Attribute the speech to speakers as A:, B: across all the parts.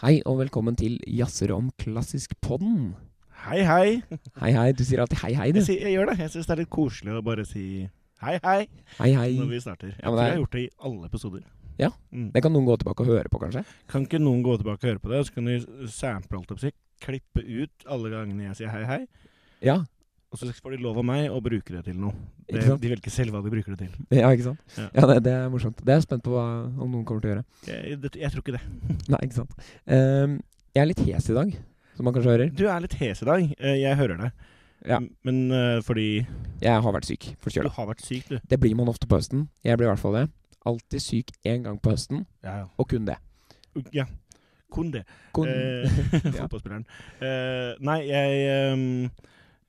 A: Hei og velkommen til Jazzer om klassisk-podden.
B: Hei, hei.
A: Hei, hei. Du sier alltid hei, hei, du.
B: Jeg, sier, jeg gjør det. Jeg syns det er litt koselig å bare si hei, hei
A: Hei, hei.
B: når vi starter. Jeg
A: Ja, men det
B: tror
A: er-
B: jeg har gjort det i alle episoder.
A: Ja.
B: Mm.
A: Det kan noen gå tilbake og høre på, kanskje?
B: Kan ikke noen gå tilbake og høre på det, så kan de sample alt opp, klippe ut alle gangene jeg sier hei, hei.
A: Ja.
B: Og så får de lov av meg å bruke det til noe. Det,
A: Ikke sant?
B: de velger selv hva de bruker det til.
A: Ja, ikke sant?
B: Ja.
A: Ja, det, det er morsomt. Det er jeg spent på hva, om noen kommer til å gjøre.
B: Jeg, det, jeg tror ikke det.
A: Nei, ikke sant. Ehm, jeg er litt hes i dag, som man kanskje hører.
B: Du er litt hes i dag. Eh, Jeg hører det.
A: Ja.
B: Men eh, fordi
A: Jeg har vært syk.
B: du
A: Forkjøla.
B: har vært syk, du.
A: Det blir man ofte på høsten. Jeg blir i hvert fall det. Alltid syk én gang på høsten,
B: Ja,
A: og kun det.
B: ja. ja. Kun det.
A: Kun
B: Eh, Fotballspilleren. Eh, nei, jeg ehm,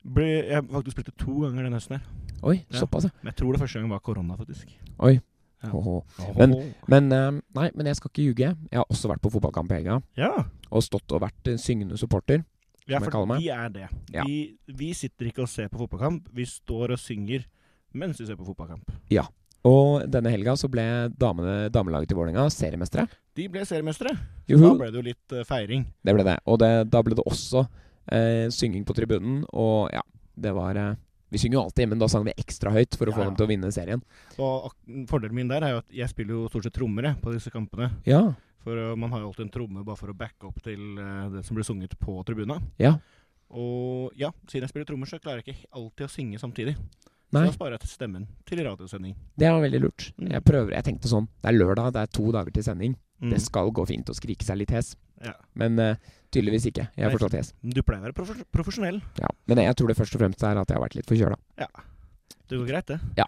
B: ble, Jeg har faktisk spilte to ganger den høsten her.
A: Oi,
B: ja.
A: såpass, ja.
B: Men jeg tror det første gangen var korona, faktisk.
A: Oi.
B: Ja.
A: Åhå.
B: Men,
A: Men ehm, nei, men jeg skal ikke ljuge. Jeg har også vært på fotballkamp i helga,
B: ja.
A: og stått og vært eh, syngende supporter.
B: ja,
A: jeg
B: for
A: kaller meg.
B: vi er det.
A: Ja.
B: Vi, vi sitter ikke og ser på fotballkamp, vi står og synger mens vi ser på fotballkamp.
A: Og denne helga så ble damene, damelaget til Vålerenga seriemestere.
B: De ble seriemestere. Da
A: Juhu!
B: ble det jo litt eh, feiring.
A: Det ble det. Og det, da ble det også eh, synging på tribunen, og ja, det var eh, Vi synger jo alltid, men da sang vi ekstra høyt for å få
B: Ja, ja.
A: dem til å vinne serien.
B: Og ak- fordelen min der er jo at jeg spiller jo stort sett trommer jeg, på disse kampene.
A: Ja.
B: For eh, man har jo alltid en tromme bare for å backe opp til eh, det som blir sunget på tribuna.
A: Ja.
B: Og ja, siden jeg spiller trommer, så klarer jeg ikke alltid å synge samtidig.
A: Nei.
B: Så da sparer jeg til stemmen til radiosending.
A: Det var veldig lurt.
B: Mm.
A: Jeg prøver, jeg tenkte sånn Det er lørdag, det er to dager til sending.
B: Mm.
A: Det skal gå fint å skrike seg litt hes.
B: Ja.
A: Men eh, tydeligvis ikke. Jeg er
B: Nei.
A: fortsatt hes.
B: Du pleier å være profes profesjonell.
A: Ja. Men jeg tror det først og fremst er at jeg har vært litt forkjøla.
B: Det går greit, det.
A: Ja.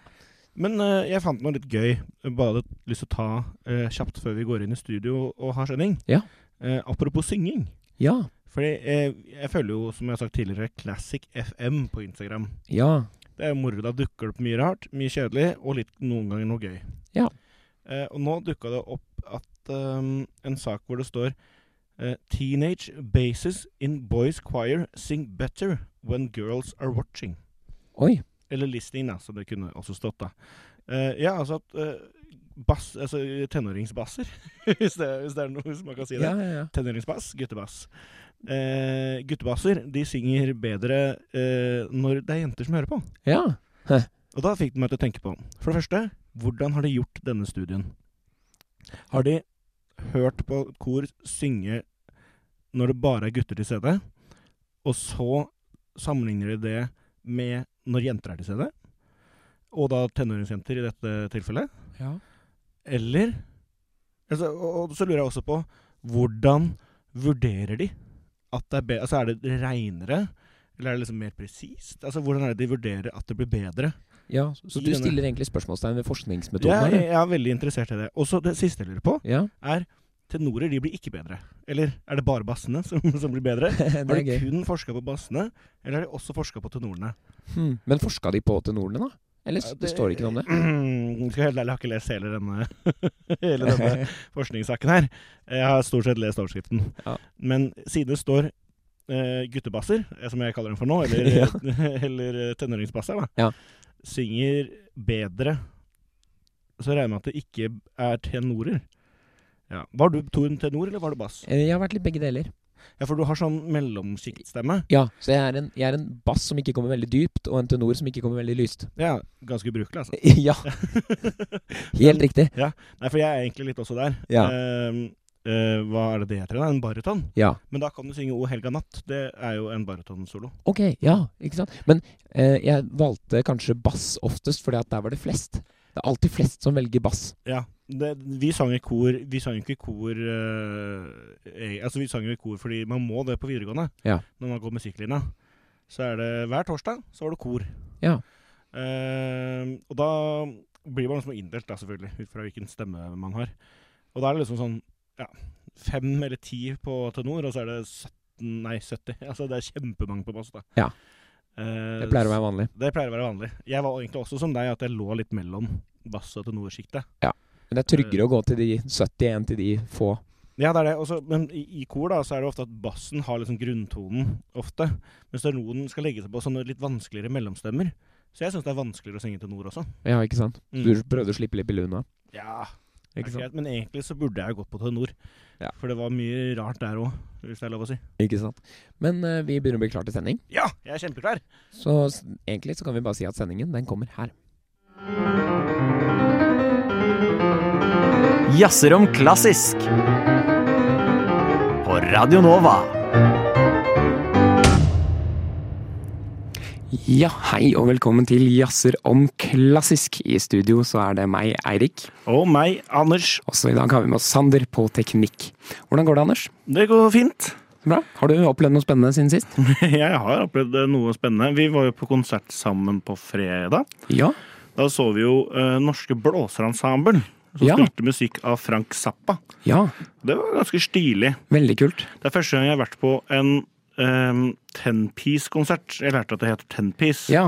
B: Men eh, jeg fant noe litt gøy. Jeg Bare hadde lyst til å ta eh, kjapt før vi går inn i studio og har sending.
A: Ja.
B: Eh, apropos synging.
A: Ja.
B: Fordi eh, jeg følger jo, som jeg har sagt tidligere, Classic FM på Instagram.
A: Ja.
B: Det er jo moro. Da dukker det opp mye rart, mye kjedelig, og litt, noen ganger noe gøy.
A: Ja.
B: Eh, og nå dukka det opp at ehm, en sak hvor det står eh, Teenage bases in boys choir sing better when girls are watching.
A: Oi.
B: Eller listening, da, som det kunne også stått, da. Eh, ja, altså at eh, bass, altså tenåringsbasser, hvis, det, hvis det er noe som man kan si det.
A: Ja, ja, ja.
B: Tenåringsbass, guttebass. Eh, guttebasser de synger bedre eh, når det er jenter som hører på.
A: ja.
B: Og da fikk det meg til å tenke på For det første, hvordan har de gjort denne studien? Har de hørt på kor synge når det bare er gutter til stede, og så sammenligner de det med når jenter er til stede? Og da tenåringsjenter i dette tilfellet?
A: ja.
B: Eller altså, og, og så lurer jeg også på hvordan vurderer de at det er bedre? Altså, er det reinere? Eller er det liksom mer presist? Altså, hvordan er det de vurderer at det blir bedre?
A: Ja, så- så du
B: I denne-
A: stiller egentlig spørsmålstegn ved
B: Ja,
A: forskningsmetoden?
B: jeg,
A: eller?
B: jeg er veldig interessert i det. Og så det siste jeg lurer på,
A: Ja,
B: er tenorer de blir ikke bedre. Eller er det bare bassene som, som blir bedre?
A: det
B: Har
A: er
B: de
A: gøy.
B: kun forska på bassene, eller har de også forska på tenorene?
A: Hmm. Men forska de på tenorene, da? Eller s-
B: Ja,
A: det står ikke noe om det?
B: Skal jeg helt ærlig, jeg har ikke lest hele denne, hele denne forskningssaken her. Jeg har stort sett lest overskriften.
A: Ja.
B: Men siden det står eh, guttebasser, eh, som jeg kaller dem for nå, eller, eh,
A: Ja.
B: eller eh, tenåringsbasser, da,
A: Ja.
B: synger bedre, så regner jeg med at det ikke er tenorer. Ja. Var du to en tenor, eller var du bass?
A: Eh, Jeg har vært litt begge deler.
B: Ja, For du har sånn mellomsjiktstemme.
A: Ja, Så jeg er, en, jeg er en bass som ikke kommer veldig dypt, og en tenor som ikke kommer veldig lyst.
B: Ja, ganske ubrukelig, altså.
A: ja, helt riktig.
B: Nei, for jeg er egentlig litt også der.
A: Ja.
B: Ehm, eh, hva er det det heter? da? En baryton?
A: Ja,
B: Men da kan du synge O helga natt. Det er jo en barytonsolo.
A: ok, ja, ikke sant? Men eh, jeg valgte kanskje bass oftest, fordi at der var det flest. Det er alltid flest som velger bass.
B: Ja. Det, vi sang i kor Vi sang jo ikke i kor eh, eh, Altså, vi sang jo i kor fordi man må det på videregående
A: Ja.
B: når man går musikklinja. Så er det hver torsdag så var det kor.
A: Ja.
B: Ehm, og da blir man liksom inndelt, da, selvfølgelig, ut fra hvilken stemme man har. Og da er det liksom sånn ja, fem eller ti på tenor, og så er det 17 Nei, 70. Altså, det er kjempemange på bass, da.
A: Ja.
B: Eh,
A: Det pleier å være vanlig.
B: Det pleier å være vanlig. Jeg var egentlig også som deg, at jeg lå litt mellom bass og tenorsjiktet.
A: Men det er tryggere å gå til de 70 enn til de få.
B: Ja, det er det. Også, men i, i kor da, så er det ofte at bassen har liksom grunntonen, ofte. Mens tenoren skal legge seg på sånne litt vanskeligere mellomstemmer. Så jeg syns det er vanskeligere å synge tenor også.
A: Ja, ikke sant?
B: Mm.
A: Du prøvde å slippe litt billig unna.
B: Ja, det er
A: Ikke sant?
B: greit, men egentlig så burde jeg jo gått på tenor.
A: Ja.
B: For det var mye rart der òg, hvis det er lov å si.
A: Ikke sant? Men eh, vi begynner å bli klar til sending,
B: Ja, jeg er kjempeklar!
A: så s- egentlig så kan vi bare si at sendingen, den kommer her.
C: Jazzer om klassisk. På Radio Nova.
A: Ja, hei og velkommen til Jazzer om klassisk. I studio så er det meg, Eirik.
B: Og meg, Anders.
A: Også i dag har vi med oss Sander på teknikk. Hvordan går det, Anders?
B: Det går fint.
A: Bra. Har du opplevd noe spennende siden sist?
B: Jeg har opplevd eh, noe spennende. Vi var jo på konsert sammen på fredag.
A: Ja.
B: Da så vi jo eh, Norske Blåserensemble, som
A: Ja.
B: spilte musikk av Frank Zappa.
A: Ja,
B: Det var ganske stilig.
A: veldig kult.
B: Det er første gang jeg har vært på en tenpiece-konsert. Jeg lærte at det heter tenpiece.
A: Ja.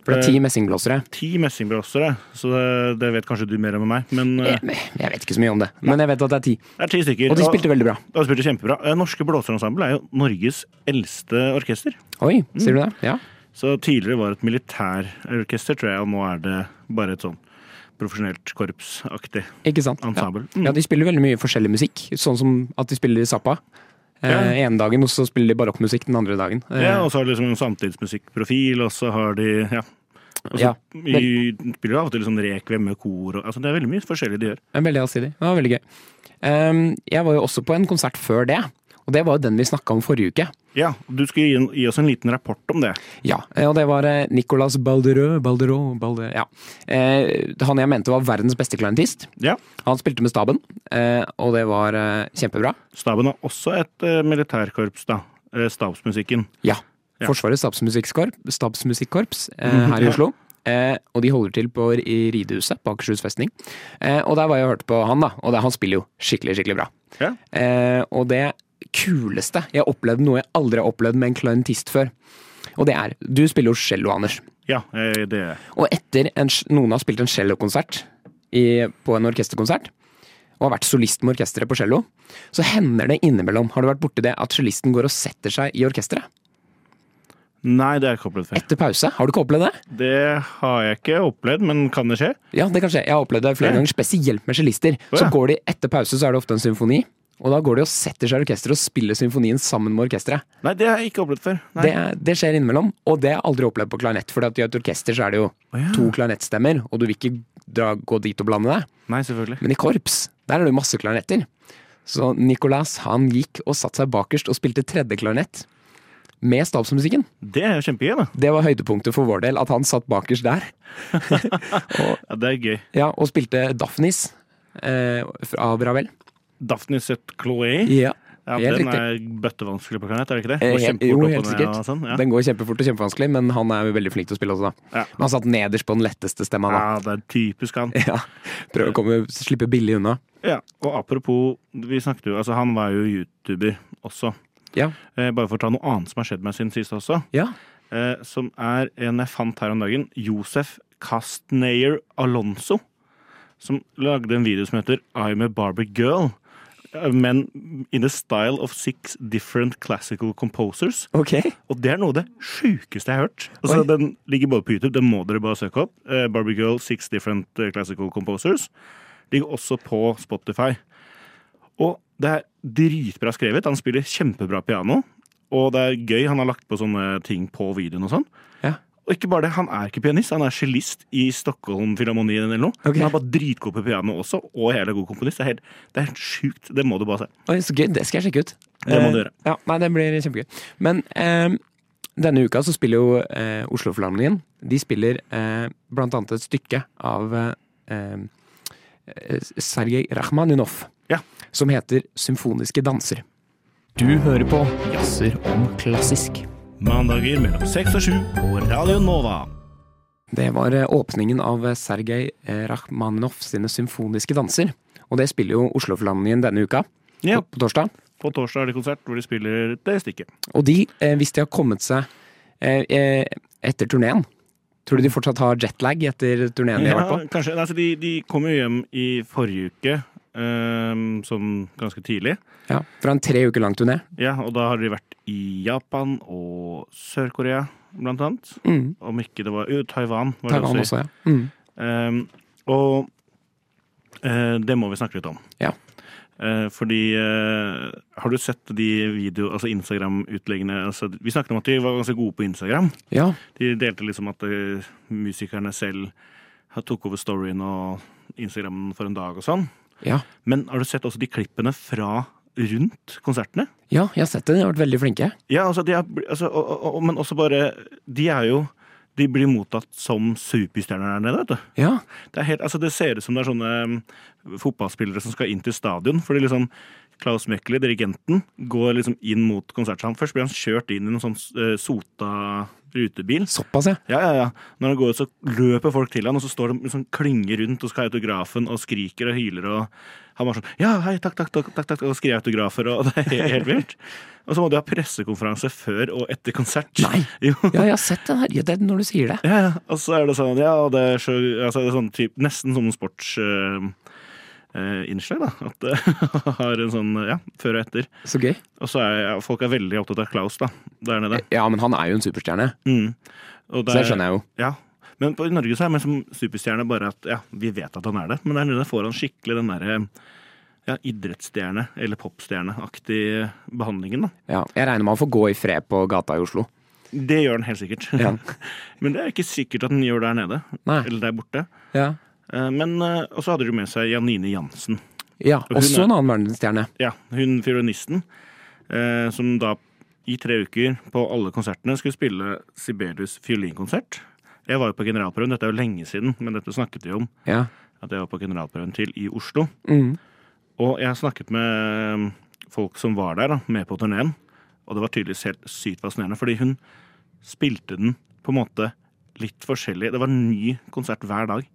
A: For det er ti messingblåsere.
B: Ti messingblåsere, så det, det vet kanskje du mer om enn meg. Men eh,
A: Jeg, jeg vet ikke så mye om det, men jeg vet at det er ti.
B: det er ti stykker.
A: Og de spilte veldig bra.
B: Og de spilte kjempebra. Eh, Norske Blåserensemble er jo Norges eldste orkester.
A: Oi, sier du det? Ja.
B: Så tidligere var det et militærorkester, tror jeg, og nå er det bare et sånn profesjonelt korpsaktig
A: Ikke sant? Ja.
B: ensemble. Mm.
A: ja, de spiller veldig mye forskjellig musikk. Sånn som at de spiller i Zappa.
B: Ja.
A: Eh, ene dagen, og så spiller de barokkmusikk den andre dagen. Eh,
B: Ja, og så har de liksom en samtidsmusikkprofil, og så har de ja. Og så
A: Ja,
B: i- spiller de av og til liksom rekvem med kor og altså Det er veldig mye forskjellig de gjør.
A: det er veldig allsidig. Det var veldig gøy. Ehm, jeg var jo også på en konsert før det, og det var jo den vi snakka om forrige uke.
B: Ja, Du skulle gi, en- gi oss en liten rapport om det.
A: Ja, eh, og det var eh, Nicolas Balderø Balderø, Balderø ja. eh, Han jeg mente var verdens beste klarinettist.
B: Ja,
A: Han spilte med staben, eh, og det var eh, kjempebra.
B: Staben har også et eh, militærkorps, da. Eh, Stabsmusikken.
A: Ja.
B: Ja. Mhm,
A: Forsvarets stabsmusikkorps, stabsmusikkorps eh, her i
B: Ja.
A: Oslo. Eh, og de holder til på i Ridehuset på Akershus festning. Eh, og der var jeg og hørte på han, da. Og det, han spiller jo skikkelig, skikkelig bra.
B: Ja.
A: Eh, og det kuleste Jeg opplevde noe jeg aldri har opplevd med en klarinettist før. Og det er Du spiller jo cello, Anders.
B: Ja, eh, det er
A: Og etter en, noen har spilt en cellokonsert i- på en orkesterkonsert, og har vært solist med orkesteret på cello, så hender det innimellom, har du vært borti det, at cellisten går og setter seg i orkesteret
B: Nei, det har jeg ikke opplevd før.
A: etter pause. Har du ikke opplevd det?
B: Det har jeg ikke opplevd, men kan det skje?
A: Ja, det kan skje. Jeg har opplevd det flere
B: Ja.
A: ganger, spesielt med cellister.
B: Å,
A: Så
B: ja.
A: går de etter pause, så er det ofte en symfoni. Og da går de og setter seg i orkesteret og spiller symfonien sammen med orkesteret.
B: Nei, det har jeg ikke opplevd før. Nei.
A: Det, det skjer innimellom, og det har jeg aldri opplevd på klarinett. For i et orkester så er det jo
B: Å, ja.
A: to klarinettstemmer, og du vil ikke dra, gå dit og blande deg.
B: Nei, selvfølgelig.
A: Men i korps, der er det jo masse klarinetter. Så Nicolas han gikk og satte seg bakerst og spilte tredje klarinett. Med stabsmusikken.
B: Det er jo kjempegøy, da.
A: Det var høydepunktet for vår del, at han satt bakerst der.
B: Ja, det er gøy.
A: Ja, Og spilte Daphnis eh, av Ravel.
B: Daphnis et Chloé.
A: Ja.
B: Ja,
A: Helt
B: den
A: riktig.
B: er bøttevanskelig på klarinett, er det ikke det?
A: Eh,
B: Må
A: helt-
B: kjempe
A: jo,
B: fort opp
A: helt
B: og ned
A: sikkert.
B: og Sånn. Ja.
A: Den går kjempefort og kjempevanskelig, men han er jo veldig flink til å spille også, da.
B: Ja.
A: Men han satt nederst på den letteste stemma, da.
B: ja, det er typisk han.
A: Ja. Prøver å komme, slippe billig unna.
B: Ja, og apropos, vi snakket jo, altså han var jo YouTuber også.
A: Ja.
B: Eh, bare for å ta noe annet som har skjedd meg siden sist også,
A: Ja.
B: eh, som er en jeg fant her om dagen, Josef Castneyer Alonso, som lagde en video som heter I'm a Barber Girl, eh, men in the style of six different classical composers.
A: Ok.
B: Og det er noe av det sjukeste jeg har hørt. Altså,
A: Oi.
B: den ligger både på YouTube, den må dere bare søke opp. Eh, Barbie Girl, Six Different eh, Classical Composers. Ligger også på Spotify. Og det er dritbra skrevet. Han spiller kjempebra piano. Og det er gøy. Han har lagt på sånne ting på videoen og sånn.
A: Ja.
B: Og ikke bare det, han er ikke pianist, han er cellist i Stockholm Filharmonien eller noe.
A: Ok.
B: Men Han er bare dritgod på piano også, og jævla god komponist. Det er helt, det er helt sjukt. Det må du bare se.
A: Oi, så gøy. Det skal jeg sjekke ut. Eh,
B: Det må du gjøre.
A: Ja, nei, den blir kjempegøy. Men eh, denne uka så spiller jo eh, Oslo-forlamningen. De spiller eh, blant annet et stykke av eh, eh, Sergej Rakhmaninov.
B: Ja.
A: Som heter Symfoniske danser. Du hører på Jazzer om klassisk.
B: Mandager mellom seks og sju på Radio Nova.
A: Det var eh, åpningen av eh, Sergej eh, Rakhmaninov sine symfoniske danser. Og det spiller jo Oslo-forlamningen denne uka,
B: Ja.
A: på, på torsdag.
B: På torsdag er det konsert hvor de spiller det stykket.
A: Og de, eh, hvis de har kommet seg eh, eh, etter turneen Tror du de fortsatt har jetlag etter turneen de har vært på?
B: kanskje. Nei, så de, de kom jo hjem i forrige uke, ehm, sånn ganske tidlig.
A: Ja, Fra en tre uker lang turné.
B: Ja, og da har de vært i Japan og Sør-Korea, blant annet.
A: Mm.
B: Om ikke det var Jo, Taiwan. Var
A: Taiwan
B: det
A: også,
B: også. i.
A: ja. Mm.
B: Ehm, og eh, det må vi snakke litt om.
A: Ja.
B: Eh, fordi eh, Har du sett de video, altså Instagram-utleggene altså, Vi snakket om at de var ganske gode på Instagram.
A: Ja.
B: De delte liksom at eh, musikerne selv har- tok over storyen og Instagram for en dag og sånn.
A: Ja.
B: Men har du sett også de klippene fra rundt konsertene?
A: ja, jeg har sett det. De har vært veldig flinke.
B: Ja, altså, de er, altså og, og, og, Men også bare De er jo De blir mottatt som superstjerner der nede, vet du.
A: Ja.
B: Det, er helt, altså det ser ut som det er sånne mm, fotballspillere som skal inn til stadion. Fordi liksom Klaus Møkeli, dirigenten, går liksom inn mot konsertsalen. Først blir han kjørt inn i en sånn eh, sota rutebil.
A: Såpass, ja.
B: Ja, ja, ja. Når han går ut, så løper folk til han, og så står de liksom klynger rundt og skal ha autografen og skriker og hyler. og Han var sånn Ja, hei, takk, takk, takk, takk, takk og skriver autografer, og det er helt, helt vilt. Og så må du ha pressekonferanse før og etter konsert.
A: Nei.
B: Jo.
A: Ja, jeg har sett den her. Ja, det er når du sier det.
B: Ja, ja. Og så er det sånn, ja, og det er, så, altså, det er sånn typ, nesten som en sportsinnslag, da. At det har en sånn, ja, før og etter.
A: Så gøy.
B: Og så er ja, folk er veldig opptatt av Klaus, da, der nede.
A: Ja, men han er jo en superstjerne,
B: Mm. Og
A: så det skjønner jeg jo.
B: Ja. Men på, i Norge så er man som superstjerne bare at ja, vi vet at han er det, men der nede får han skikkelig den derre ja, idrettsstjerne- eller popstjerneaktig behandlingen, da.
A: Ja, jeg regner med han får gå i fred på gata i Oslo.
B: Det gjør han helt sikkert.
A: Ja.
B: men det er ikke sikkert at han gjør der nede,
A: Nei.
B: eller der borte.
A: Ja.
B: Eh, Men, eh, og så hadde de med seg Janine Jansen.
A: ja.
B: hun
A: Også
B: er-
A: en annen verdensstjerne.
B: Ja, hun fiolinisten, eh, som da i tre uker på alle konsertene skulle spille Sibelius fiolinkonsert. Jeg var jo på generalprøven, dette er jo lenge siden, men dette snakket vi om
A: Ja.
B: at jeg var på generalprøven til i Oslo.
A: Mm.
B: Og jeg har snakket med eh, folk som var der, da, med på turneen, og det var tydeligvis helt sykt fascinerende, fordi hun spilte den på en måte litt forskjellig. Det var en ny konsert hver dag.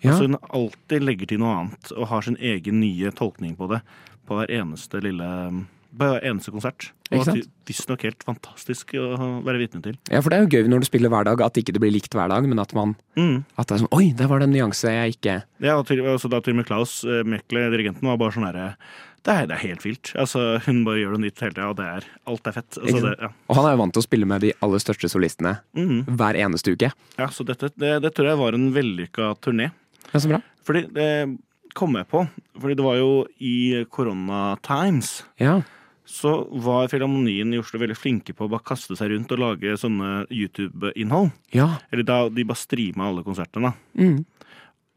A: Ja.
B: Altså hun alltid legger til noe annet og har sin egen nye tolkning på det på hver eneste lille um, på hver eneste konsert. Og
A: Ikke
B: det
A: sant?
B: er visstnok helt fantastisk å være vitne til.
A: ja, for det er jo gøy når du spiller hver dag, at ikke det blir likt hver dag, men at man
B: Mm.
A: at det er sånn Oi, der var det en nyanse jeg ikke
B: Ja, og til, altså da til og med Klaus eh, Mekle, dirigenten, var bare sånn herre det, er- det er helt vilt. Altså, hun bare gjør det nytt hele tida, og det er, alt er fett.
A: Ikke
B: Altså, det,
A: sant?
B: ja.
A: Og han er jo vant til å spille med de aller største solistene
B: Mhm.
A: hver eneste uke.
B: ja, så dette det, det tror jeg var en vellykka turné.
A: Ja, så bra.
B: Fordi det kom jeg på. Fordi det var jo i Corona Times.
A: Ja.
B: så var Filharmonien i Oslo veldig flinke på å bare kaste seg rundt og lage sånne YouTube-innhold.
A: Ja.
B: Eller da de bare streama alle konsertene. da.
A: Mm.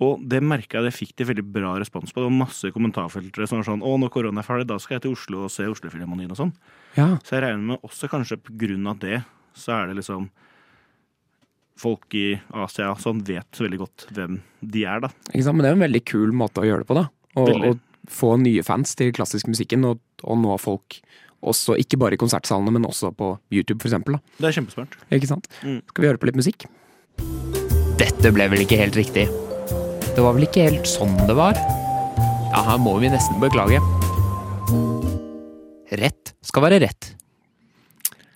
B: Og det merka jeg det fikk de veldig bra respons på. Det var masse kommentarfeltre som var sånn 'Å, når korona er ferdig, da skal jeg til Oslo og se Oslofilharmonien' og sånn.
A: ja.
B: Så jeg regner med også kanskje på grunn av det, så er det liksom Folk i Asia og sånn vet veldig godt hvem de er, da.
A: Ikke sant? Men det er jo en veldig kul måte å gjøre det på, da. Og,
B: Veldig.
A: og få nye fans til klassisk musikken, og, og nå folk også, ikke bare i konsertsalene, men også på YouTube, for eksempel. Da.
B: Det er kjempesmart.
A: Ikke sant?
B: Mm.
A: Skal vi høre på litt musikk? Dette ble vel ikke helt riktig. Det var vel ikke helt sånn det var? Ja, her må vi nesten beklage. Rett skal være rett.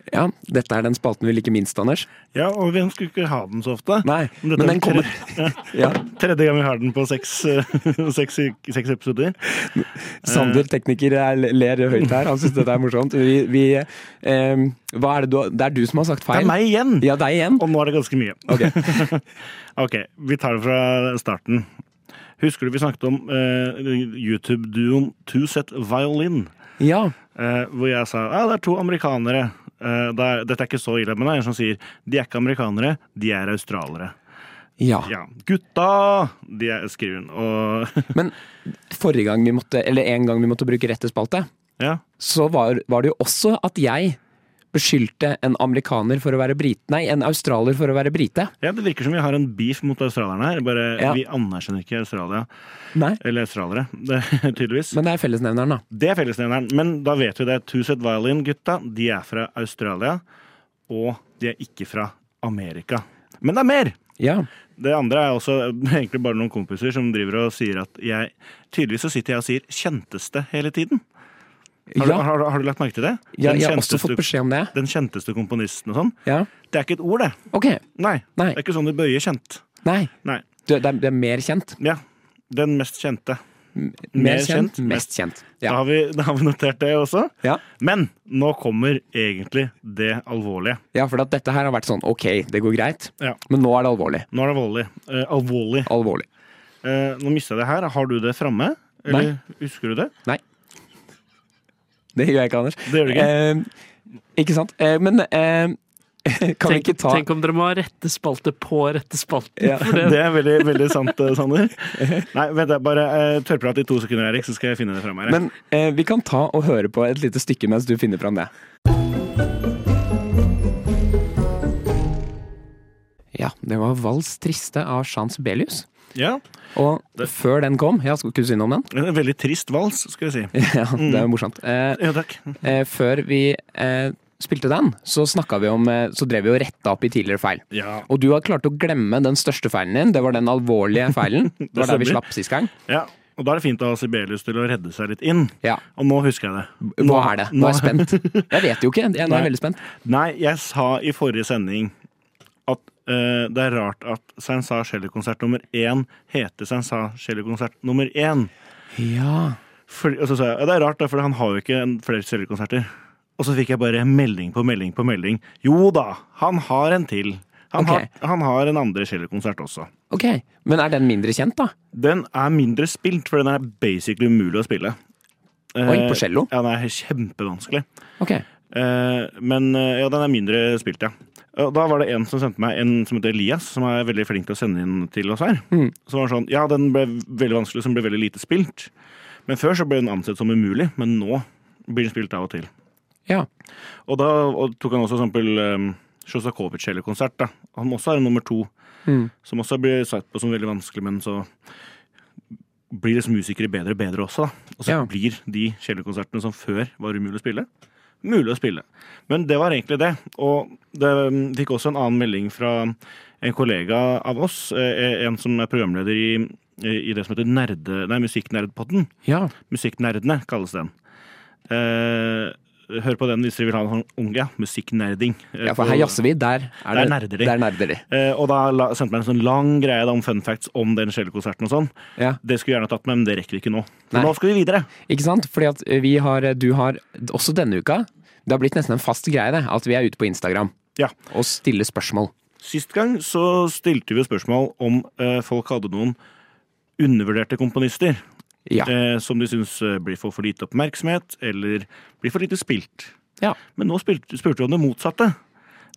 A: Ja, dette er den spalten vi liker minst, Anders.
B: Ja, og vi ønsker ikke ha den så ofte.
A: Nei,
B: Men dette
A: men
B: er Eh.
A: den kommer. Ja,
B: Tredje gang vi har den på seks, seks, seks episoder.
A: Sander, tekniker, er- ler høyt her. Han syns dette er morsomt. Vi, vi, eh, hva er det, du, har- det er du som har sagt
B: Det
A: feil.
B: er meg igjen!
A: Ja, deg igjen.
B: Og nå er det ganske mye.
A: Ok.
B: ok, vi tar det fra starten. Husker du vi snakket om eh, YouTube-duoen Two Set Violin?
A: Ja.
B: eh, hvor jeg sa ja, det er to amerikanere. Eh, det er, dette er ikke så ille, men det er en som sier de er ikke amerikanere, de er australiere.
A: ja.
B: Ja, gutta! De er, skriver hun. Og
A: Men forrige gang vi måtte, eller en gang vi måtte bruke rett til spalte,
B: ja.
A: så var, var det jo også at jeg beskyldte en amerikaner for å være brit... Nei, en australier for å være brite.
B: ja, det virker som vi har en beef mot australierne her. Bare
A: Ja.
B: vi anerkjenner ikke Australia
A: Nei.
B: eller australiere, det, tydeligvis.
A: Men det er fellesnevneren, da.
B: Det er fellesnevneren. Men da vet vi det. Tuset Violin-gutta de er fra Australia, og de er ikke fra Amerika. Men det er mer!
A: Ja.
B: Det andre er også egentlig bare noen kompiser som driver og sier at jeg Tydeligvis så sitter jeg og sier 'kjenteste' hele tiden. Har, du,
A: Ja,
B: har, du- har du lagt merke til det?
A: ja,
B: Den
A: jeg har også
B: kjenteste-
A: fått beskjed om det.
B: Den kjenteste komponisten og sånn.
A: Ja.
B: Det er ikke et ord, det.
A: Ok.
B: Nei.
A: Nei.
B: Det er ikke sånn du bøyer kjent.
A: Nei.
B: Nei.
A: Du, Det er, det er mer kjent.
B: Ja. Den mest kjente. Mer
A: Mer kjent,
B: kjent,
A: mest kjent.
B: Da,
A: Ja.
B: har vi, da har vi notert det også.
A: ja.
B: Men nå kommer egentlig det alvorlige.
A: Ja, for at dette her har vært sånn ok, det går greit,
B: Ja.
A: men nå er det alvorlig.
B: Nå er det volley. Eh, alvorlig.
A: Alvorlig.
B: Eh, nå mista jeg det her. Har du det framme? Eller husker du det?
A: Nei. Det gjør jeg ikke, Anders.
B: Det gjør du ikke.
A: Eh, ikke sant? Eh, men eh, kan vi
D: Tenk,
A: ikke ta
D: tenk om dere må ha rette spalte på rette spalten.
A: Ja.
D: For det,
B: Det er veldig, veldig sant, eh, Sander. Nei, vent, da, bare eh, tørrprat i to sekunder, Erik, så skal jeg finne det fram her.
A: Men eh, vi kan ta og høre på et lite stykke mens du finner fram det. Ja, det var Vals Triste av Chans Belius.
B: Ja,
A: Og
B: Det-
A: før den kom Jeg skulle ikke si noe om den.
B: en veldig trist vals, skal jeg si.
A: Ja, det er jo morsomt. Eh,
B: Ja, takk.
A: eh, før vi eh, spilte den, så snakka vi om eh, Så drev vi og retta opp i tidligere feil.
B: Ja,
A: Og du har klart å glemme den største feilen din. Det var den alvorlige feilen. Det var der vi
B: stemmer.
A: slapp sist gang.
B: ja. Og da er det fint å ha Sibelius til å redde seg litt inn.
A: Ja.
B: Og nå husker jeg det.
A: Hva er det? Nå er jeg spent. Jeg vet jo ikke. Jeg, nå er
B: Nei.
A: jeg veldig spent.
B: Nei, jeg sa i forrige sending at eh, det er rart at Sansar Shelley-konsert nummer én heter Sansar Shelley-konsert nummer én.
A: Ja.
B: For, og så sa jeg ja, det er rart, da, for han har jo ikke en- flere cellekonserter. Og så fikk jeg bare melding på melding på melding. Jo da, han har en til. Han,
A: Ok.
B: har, han har en andre cellekonsert også.
A: Ok, Men er den mindre kjent, da?
B: Den er mindre spilt, for den er basically umulig å spille.
A: Oi,
B: Eh,
A: på cello?
B: Ja, den er kjempevanskelig.
A: Ok.
B: Eh, men eh, ja, den er mindre spilt, ja. Og da var det en som sendte meg, en som heter Elias, som er veldig flink til å sende inn til oss her.
A: Mm.
B: Som var sånn, ja, den ble veldig vanskelig, som ble veldig lite spilt. Men før så ble den ansett som umulig, men nå blir den spilt av og til.
A: Ja.
B: Og da og tok han også for eksempel um, Sjostakovitsj konsert da. Han også har en nummer to,
A: Mm.
B: som også blir sett på som veldig vanskelig, men så blir liksom musikere bedre og bedre også, da. Og så
A: Ja.
B: blir de cellokonsertene som før var umulig å spille, mulig å spille. Men det var egentlig det. Og det um, fikk også en annen melding fra en kollega av oss, eh, en som er programleder i, i det som heter Nerde, nei, Musikknerdpodden.
A: ja.
B: Musikknerdene kalles den. Eh, hør på den hvis dere vil ha en sånn unge. Musikknerding. Eh,
A: Ja, for her
B: på-
A: jazzer vi. Der er det
B: Der nerder de.
A: Der nerder de.
B: Eh, og da la, sendte meg en sånn lang greie da om fun facts om den cellokonserten og sånn.
A: Ja.
B: Det skulle jeg gjerne tatt med, men det rekker vi ikke nå. For
A: Nei.
B: nå skal vi videre.
A: Ikke sant? Fordi at eh, vi har Du har også denne uka Det har blitt nesten en fast greie, det. At vi er ute på Instagram
B: Ja.
A: og stiller spørsmål.
B: Sist gang så stilte vi jo spørsmål om eh, folk hadde noen undervurderte komponister
A: Ja.
B: eh, som de syns eh, blir for for lite oppmerksomhet, eller blir for lite spilt.
A: Ja.
B: Men nå spilte, spurte vi om det motsatte.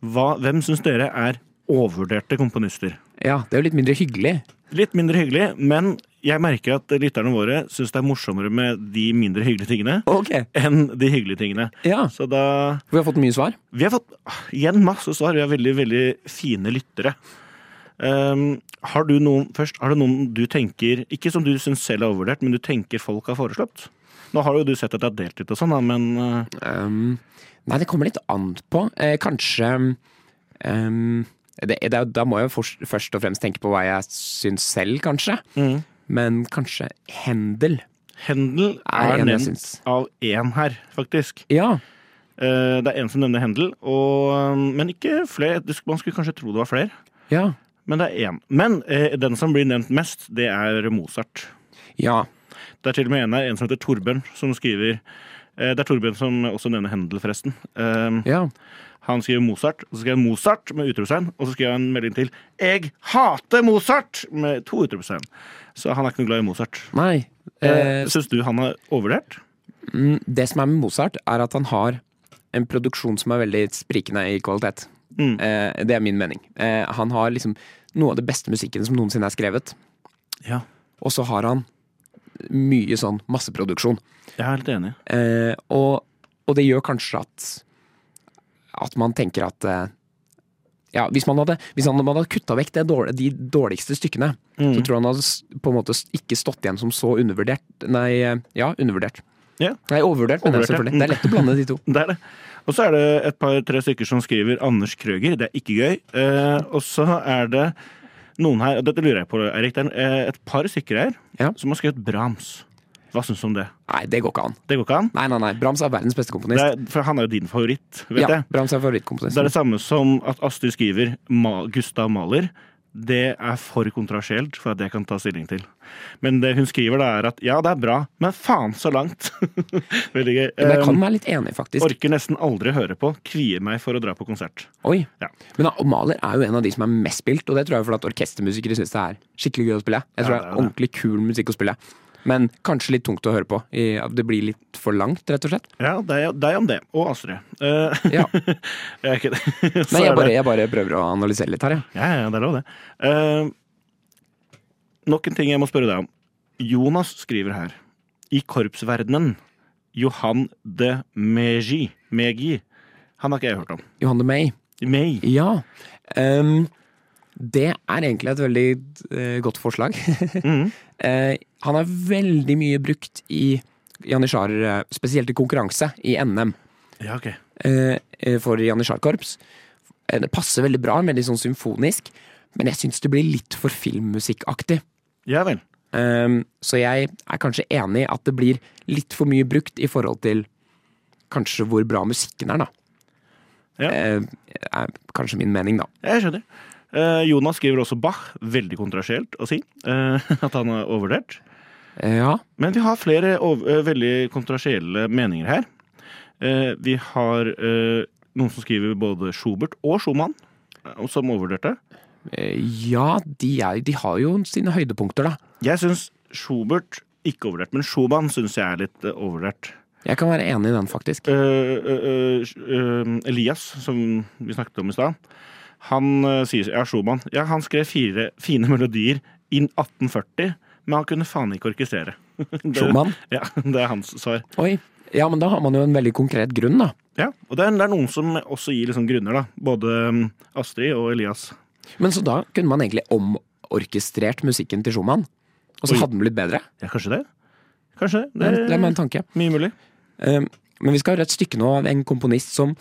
B: Hva, hvem syns dere er overvurderte komponister?
A: ja. Det er jo litt mindre hyggelig.
B: Litt mindre hyggelig, men jeg merker at lytterne våre syns det er morsommere med de mindre hyggelige tingene
A: Ok.
B: enn de hyggelige tingene.
A: Ja.
B: Så da
A: Vi har fått mye svar.
B: Vi har fått ah, igjen masse svar. Vi har veldig, veldig fine lyttere. Ehm, har du noen først, har du noen du tenker Ikke som du syns selv er overvurdert, men du tenker folk har foreslått? Nå har jo du sett at det er delt litt og sånn, da, men eh,
A: Um, nei, det kommer litt an på. Eh, kanskje um, det, det, er jo- Da må jeg jo først, først og fremst tenke på hva jeg syns selv, kanskje.
B: Mhm.
A: Men kanskje Hendel
B: Hendel
A: er
B: er
A: en jeg
B: nevnt
A: syns.
B: av én her, faktisk.
A: Ja.
B: Eh, det er en som nevner Hendel, og, eh, men ikke flere. Du sk- Man skulle kanskje tro det var flere.
A: Ja.
B: Men det er én. Men eh, den som blir nevnt mest, det er Mozart.
A: ja.
B: Det er til og med en her, en som heter Torbjørn, som skriver eh, Det er Torbjørn som også nevner Hendel, forresten. Eh,
A: Ja.
B: han skriver Mozart, og så skriver han Mozart med utropstegn, og så skriver han en melding til 'Jeg hater Mozart!' med to utropstegn. Så han er ikke noe glad i Mozart.
A: Nei.
B: Eh,
A: Eh,
B: Syns du han er overvurdert?
A: mm, det som er med Mozart, er at han har en produksjon som er veldig sprikende i kvalitet.
B: Mm.
A: Eh, det er min mening. Eh, han har liksom noe av det beste musikken som noensinne er skrevet.
B: Ja.
A: Og så har han mye sånn masseproduksjon.
B: Jeg er helt enig.
A: Eh, og, og det gjør kanskje at at man tenker at eh, ja, hvis, man hadde, hvis han hadde kutta vekk det dårl- de dårligste stykkene,
B: Mm.
A: så tror jeg han hadde s- på en måte s- ikke stått igjen som så undervurdert. Nei, eh, ja, undervurdert.
B: Ja.
A: Nei, overvurdert, men
B: Overvurdert, ja.
A: selvfølgelig. Det er lett å blande de to.
B: Det er det. Og så er det et par-tre stykker som skriver Anders Krøger. Det er ikke gøy. Eh, og så er det noen her, og dette lurer jeg på, Erik. Det er eh, et par stykker her
A: Ja.
B: som har skrevet Brahms. Hva syns du om det?
A: Nei, det går ikke an.
B: Det går ikke an?
A: Nei, nei, nei. Brahms er verdens beste
B: Det
A: komponist.
B: er, for han er jo din favoritt, vet
A: ja,
B: jeg.
A: Brahms er
B: Det er
A: favorittkomponisten.
B: det samme som at Astrid skriver Ma Gustav Mahler. Det er for kontrasjelt for at jeg kan ta stilling til. Men det hun skriver, da er at ja, det er bra, men faen så langt. Veldig gøy.
A: Men jeg
B: Eh,
A: kan være litt enig, faktisk.
B: orker nesten aldri høre på. Kvier meg for å dra på konsert.
A: Oi.
B: Ja.
A: Men da, Mahler er jo en av de som er mest spilt, og det tror jeg er fordi at orkestermusikere syns det er skikkelig gøy å spille. Jeg tror det
B: Ja, det
A: er
B: er det.
A: ordentlig kul musikk å spille. Men kanskje litt tungt å høre på. I, det blir litt for langt, rett og slett.
B: Ja, deg, deg om det. Og Astrid. Eh,
A: Ja.
B: jeg er ikke det. Så
A: Nei,
B: er
A: jeg
B: det-
A: bare, jeg bare prøver å analysere litt her, jeg.
B: Ja, ja, det er lov, det. Eh, nok en ting jeg må spørre deg om. Jonas skriver her. I korpsverdenen, Johan de Megi. Megi. Han har ikke jeg hørt om.
A: Johanne May.
B: May.
A: Ja. ehm, det er egentlig et veldig eh, godt forslag.
B: Mhm.
A: Eh, han er veldig mye brukt i janitsjarer, eh, spesielt i konkurranse i NM
B: Ja, ok.
A: eh, eh, for janitsjarkorps. Eh, Det passer veldig bra, veldig sånn symfonisk, men jeg syns det blir litt for filmmusikkaktig.
B: Ja vel.
A: Ehm, så jeg er kanskje enig i at det blir litt for mye brukt i forhold til kanskje hvor bra musikken er, da.
B: Ja.
A: Eh, er kanskje min mening, da.
B: Jeg skjønner. Eh, Jonas skriver også Bach. Veldig kontrasielt å si eh, at han er overvurdert.
A: Eh, ja.
B: Men vi har flere ov- eh, veldig kontrasielle meninger her. Eh, vi har eh, noen som skriver både Schubert og Schumann eh, som overvurderte.
A: Eh, Ja, de, er, de har jo sine høydepunkter, da.
B: Jeg syns Schubert ikke overvurdert, men Schumann syns jeg er litt eh, overvurdert.
A: Jeg kan være enig i den, faktisk.
B: Eh, eh, eh, eh, Elias, som vi snakket om i stad, han eh, sier Ja, Schumann. Ja, han skrev fire fine melodier i 1840, men han kunne faen ikke orkestrere. Det-
A: Schumann?
B: Ja, det er hans svar.
A: Oi. Ja, men da har man jo en veldig konkret grunn, da.
B: Ja, og det er, det er noen som også gir liksom grunner, da. Både mm, Astrid og Elias.
A: Men så da kunne man egentlig omorkestrert musikken til Schumann. Og så
B: Oi.
A: hadde den blitt bedre.
B: Ja, kanskje det? Kanskje det?
A: Det,
B: Det
A: det er
B: er
A: min tanke.
B: mye mulig.
A: Eh, Men vi skal høre et stykke nå av en komponist som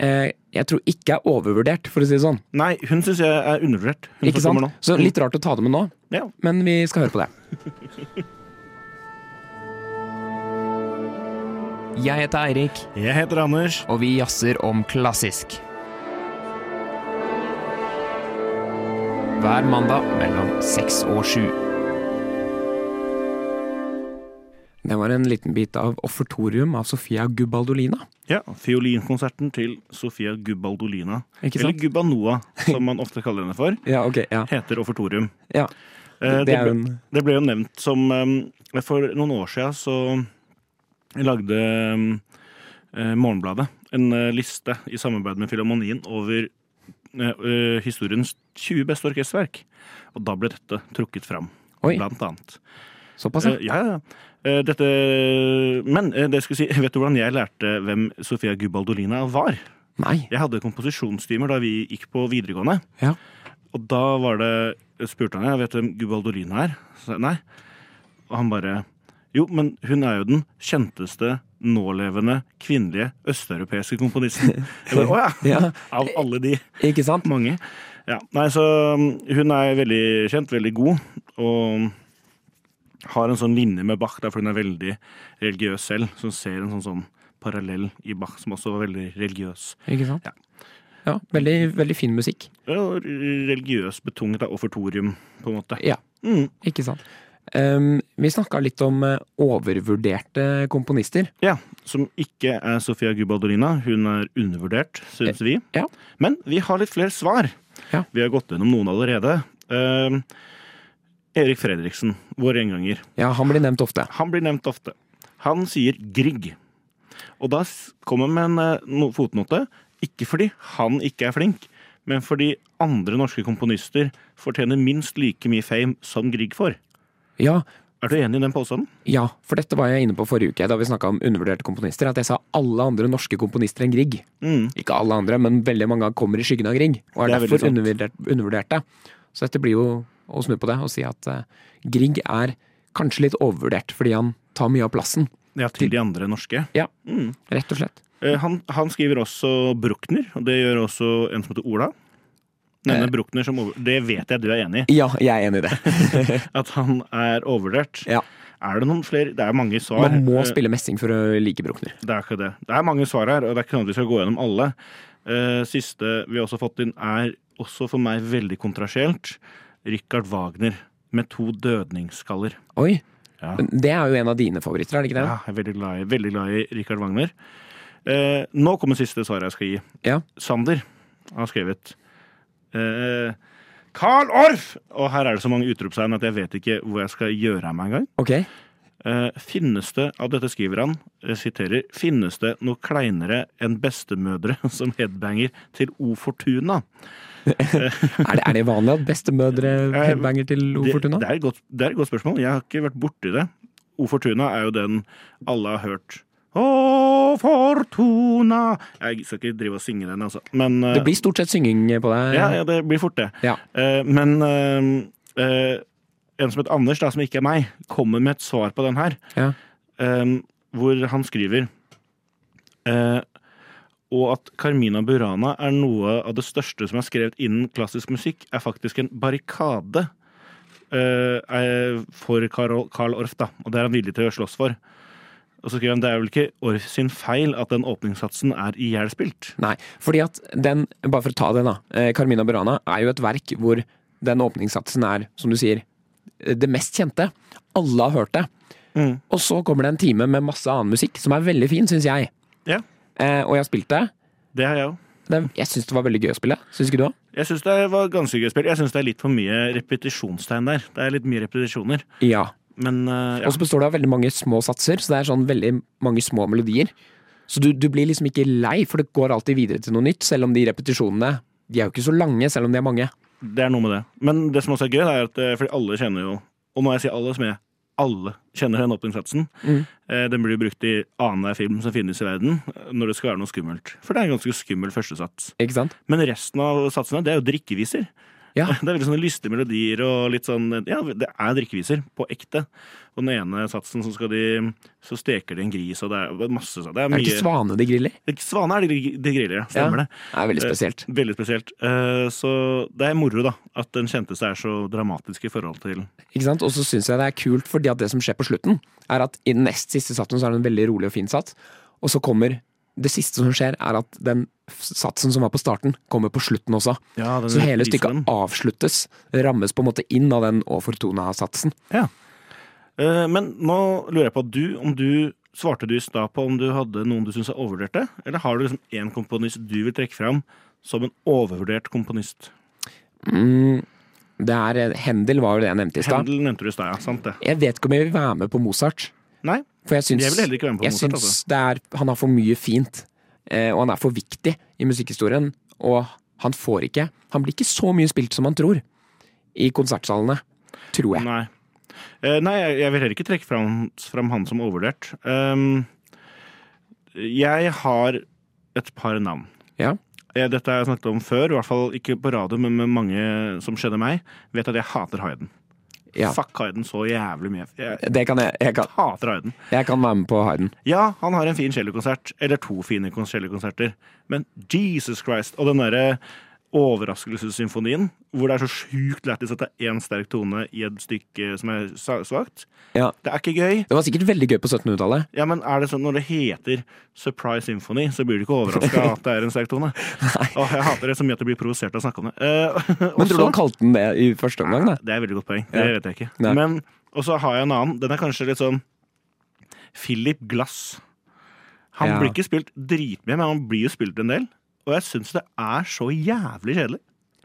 A: eh, jeg tror ikke er overvurdert, for å si det sånn.
B: Nei, hun syns jeg er undervurdert. Hun
A: Ikke
B: som kommer
A: sant? Så litt rart å ta det med nå,
B: Nå. Ja.
A: men vi skal høre på det.
E: Jeg heter Eirik,
B: Jeg heter Anders.
E: og vi jazzer om klassisk. Hver mandag mellom seks og sju.
A: Det var en liten bit av Offertorium av Sofia Gubbaldolina.
B: Ja, Fiolinkonserten til Sofia Gubbaldolina,
A: Ikke
B: eller
A: sant?
B: Gubbanoa, som man ofte kaller henne for,
A: Ja, ok. Ja.
B: heter Offertorium.
A: ja.
B: Eh,
A: Det er jo
B: ble,
A: en
B: det ble jo nevnt som eh, For noen år siden så lagde um, eh, Morgenbladet en eh, liste i samarbeid med Filharmonien over eh, eh, historiens 20 beste orkesterverk. Og da ble dette trukket fram,
A: Oi.
B: blant annet.
A: Såpass,
B: Eh,
A: ja.
B: ja, ja. Eh, dette, men eh, det jeg skulle si, vet du hvordan jeg lærte hvem Sofia Gubbaldolina var?
A: Nei.
B: Jeg hadde komposisjonstimer da vi gikk på videregående.
A: Ja.
B: Og da var det, spurte han jeg, vet du hvem Gubaldolina er? Så sa jeg nei. Og han bare, jo, men hun er jo den kjenteste nålevende kvinnelige østeuropeiske komponisten. Jeg bare, åja,
A: Ja,
B: av alle de
A: ikke sant?
B: mange. Ja, nei, så um, hun er veldig kjent, veldig god, og har en sånn linje med Bach, derfor hun er veldig religiøs selv, så hun ser en sånn, sånn parallell i Bach, som også var veldig religiøs.
A: Ikke sant?
B: Ja.
A: Ja, veldig, veldig fin musikk.
B: Ja, og religiøs betunget av offertorium, på en måte.
A: Ja.
B: Mm.
A: Ikke sant? Ehm, vi snakka litt om eh, overvurderte komponister.
B: ja som ikke er Sofia Gubaldolina. Hun er undervurdert, syns vi.
A: Eh, ja.
B: Men vi har litt flere svar.
A: Ja.
B: Vi har gått gjennom noen allerede. Ehm, Erik Fredriksen, vår gjenganger,
A: Ja, han blir nevnt ofte.
B: han blir nevnt ofte. Han sier Grieg. Og da s- kommer han med en eh, no- fotnote. Ikke fordi han ikke er flink, men fordi andre norske komponister fortjener minst like mye fame som Grieg får.
A: Ja,
B: Er du enig i den påstanden?
A: ja, for dette var jeg inne på forrige uke, da vi snakka om undervurderte komponister. At jeg sa alle andre norske komponister enn Grieg.
B: Mm.
A: Ikke alle andre, men veldig mange kommer i skyggen av Grieg. Og er,
B: Det er veldig
A: derfor
B: sant.
A: undervurdert, undervurderte. Så dette blir jo å snu på det og si at eh, Grieg er kanskje litt overvurdert fordi han tar mye av plassen.
B: Ja, til de andre norske.
A: Ja.
B: Mm.
A: Rett og slett.
B: Eh, Han, han skriver også Bruckner, og det gjør også en som heter Ola. Nevner
A: Eh.
B: Bruckner som over... Det vet jeg du er enig i,
A: Ja, jeg er enig i det.
B: at han er overvurdert.
A: Ja.
B: Er det noen flere? Det er mange svar.
A: Man må
B: Eh,
A: spille messing for å like Bruckner.
B: Det er ikke det. Det er mange svar her, og det er ikke sånn at vi skal gå gjennom alle. Eh, Siste vi har også fått inn, er også for meg veldig kontrasielt. Richard Wagner med to dødningsskaller.
A: Oi,
B: Ja.
A: men det er jo en av dine favoritter, er det ikke det?
B: Ja, jeg er veldig glad i, veldig glad i Richard Wagner. Eh, nå kommer siste svaret jeg skal gi.
A: Ja.
B: Sander har skrevet eh, Carl Orff! Og her er det så mange utropstegn at jeg vet ikke hvor jeg skal gjøre av meg engang.
A: Ok.
B: Eh, finnes det, av dette skriver han, jeg siterer, finnes det noe kleinere enn bestemødre som headbanger til O Fortuna?
A: Er det, er det vanlig at bestemødre
B: Eh,
A: headbanger til O
B: Det-
A: Fortuna?
B: Det, er et godt- det er et godt spørsmål. Jeg har ikke vært borti det. O Fortuna er jo den alle har hørt. Å, Fortuna Jeg skal ikke drive og synge den, altså. Men eh,
A: Det blir stort sett synging på deg.
B: ja, ja, det blir fort det.
A: Ja.
B: Eh, men eh, eh, en som heter Anders, da, som ikke er meg, kommer med et svar på den her.
A: Ja.
B: Eh, hvor han skriver eh, Og at Carmina Burana er noe av det største som er skrevet innen klassisk musikk, er faktisk en barrikade eh, er for Carl, Carl Orff, da. Og det er han villig til å slåss for. Og så skriver han det er vel ikke Orff sin feil at den åpningssatsen er ihjelspilt.
A: Nei, fordi at den, bare for å ta den da, eh, Carmina Burana er jo et verk hvor den åpningssatsen er, som du sier, eh, det mest kjente. Alle har hørt det.
B: Mm.
A: Og så kommer det en time med masse annen musikk, som er veldig fin, syns jeg.
B: Ja.
A: Eh, og jeg har spilt det.
B: Det har jeg òg.
A: det. Jeg syns det var veldig gøy å spille. Syns ikke du òg?
B: Jeg syns det var ganske gøy spill. Jeg syns det er litt for mye repetisjonstegn der. Det er litt mye repetisjoner.
A: Ja.
B: Men eh,
A: Og så består det av veldig mange små satser, så det er sånn veldig mange små melodier. Så du, du blir liksom ikke lei, for det går alltid videre til noe nytt, selv om de repetisjonene De er jo ikke så lange, selv om de er mange.
B: ja, det er noe med det. Men det som også er gøy, er at eh, fordi alle kjenner jo Og når jeg sier alle, så mener jeg alle kjenner den åpningssatsen.
A: Mm.
B: Eh, Den blir jo brukt i annenhver film som finnes i verden, eh, når det skal være noe skummelt. For det er en ganske skummel førstesats.
A: Ikke sant?
B: Men resten av satsene, det er jo drikkeviser.
A: Ja.
B: Det er veldig sånne lystige melodier og litt sånn Ja, det er drikkeviser på ekte. Og den ene satsen, så skal de Så steker de en gris, og det er masse sånn. Det er
A: Det er
B: mye
A: ikke svane de griller.
B: Det er ikke Svane er de, de griller, ja. Stemmer det.
A: Det er veldig spesielt.
B: Veldig spesielt. Eh, så det er moro, da. At den kjenteste er så dramatisk i forhold til
A: Ikke sant? Og så syns jeg det er kult, fordi at det som skjer på slutten, er at i den nest siste satsen så er den veldig rolig og fin sats, og så kommer det siste som skjer, er at den f- satsen som var på starten, kommer på slutten også.
B: ja, den
A: Så hele
B: visen
A: stykket
B: dem.
A: avsluttes, rammes på en måte inn av den og Fortuna-satsen.
B: Eh, men nå lurer jeg på du, om du Svarte du i stad på om du hadde noen du syns er overvurderte? Eller har du liksom én komponist du vil trekke fram som en overvurdert komponist?
A: Mm, det er, eh, Hendel var jo det jeg nevnte i stad.
B: Handel nevnte du i stad, ja. Sant det.
A: Jeg vet ikke om jeg vil være med på Mozart.
B: Nei,
A: For jeg syns,
B: jeg vil heller ikke være med på
A: jeg
B: Mozart.
A: syns
B: Altså.
A: det er, han har for mye fint, eh, og han er for viktig i musikkhistorien. Og han får ikke Han blir ikke så mye spilt som han tror i konsertsalene, tror jeg.
B: Nei. Eh, nei, jeg- jeg vil heller ikke trekke fram, fram han som overvurdert. Um, jeg har et par navn.
A: Ja.
B: Eh, Dette har jeg snakket om før, i hvert fall ikke på radio, men med mange som kjenner meg, vet at jeg hater Hayden.
A: Ja.
B: Fuck Hayden så jævlig mye. Jeg
A: Det kan jeg, jeg, kan,
B: hater Hayden.
A: jeg kan være med på Hayden.
B: Ja, han har en fin cellokonsert, eller to fine kon- cellokonserter, men Jesus Christ! Og den derre overraskelsessymfonien, hvor det er så sjukt lættis at det er én sterk tone i et stykke som er sa- svakt.
A: Ja.
B: Det er ikke gøy.
A: Det var sikkert veldig gøy på 1700-tallet.
B: Ja, men er det sånn Når det heter Surprise Symphony, så blir du ikke overraska at det er en sterk tone. Åh, jeg hater det så mye at jeg blir provosert av å snakke om det. Eh,
A: Men tror du
B: også-
A: han kalte den det i første omgang? da?
B: Det er et veldig godt poeng. Det
A: Ja.
B: vet jeg ikke.
A: Nei.
B: Men, Og så har jeg en annen. Den er kanskje litt sånn Philip Glass. Han
A: Ja.
B: blir ikke spilt dritmye, men han blir jo spilt en del. Og jeg syns det er så jævlig kjedelig.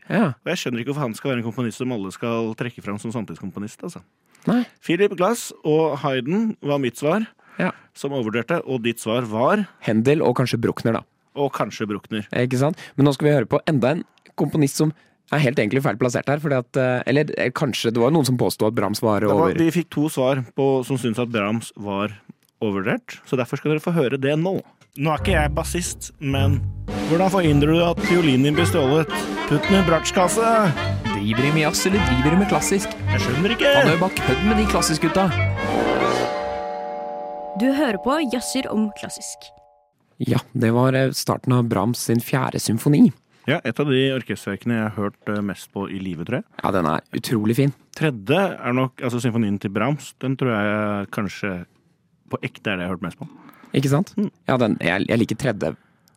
A: Ja.
B: Og jeg skjønner ikke hvorfor han skal være en komponist som alle skal trekke fram som samtidskomponist. altså.
A: Nei.
B: Philip Glass og Hayden var mitt svar,
A: Ja.
B: som overvurderte, og ditt svar var
A: Hendel og kanskje Bruckner, da.
B: og kanskje Bruckner.
A: Ikke sant? Men nå skal vi høre på enda en komponist som er helt egentlig feil plassert her. Fordi at, eh, eller eh, kanskje det var noen som påsto at Brahms var
B: Det var,
A: over
B: vi fikk to svar på, som syntes at Brahms var overvurdert, så derfor skal dere få høre det nå. Nå er ikke jeg bassist, men hvordan forhindrer du at fiolinen din blir stjålet? Putt den i bratsjkasse!
E: Driver de med jazz, eller driver de med klassisk?
B: Jeg skjønner ikke!
E: Han er jo bare kødd med de klassisk-gutta.
F: Du hører på Jazzer om klassisk.
A: Ja, det var eh, starten av Brahms sin fjerde symfoni.
B: Ja, et av de orkesterverkene jeg har hørt eh, mest på i livet, tror jeg.
A: Ja, den er utrolig fin.
B: Tredje er nok altså symfonien til Brahms. Den tror jeg kanskje på ekte er det jeg har hørt mest på.
A: Ikke sant?
B: Mm.
A: Ja, den, jeg, jeg liker tredje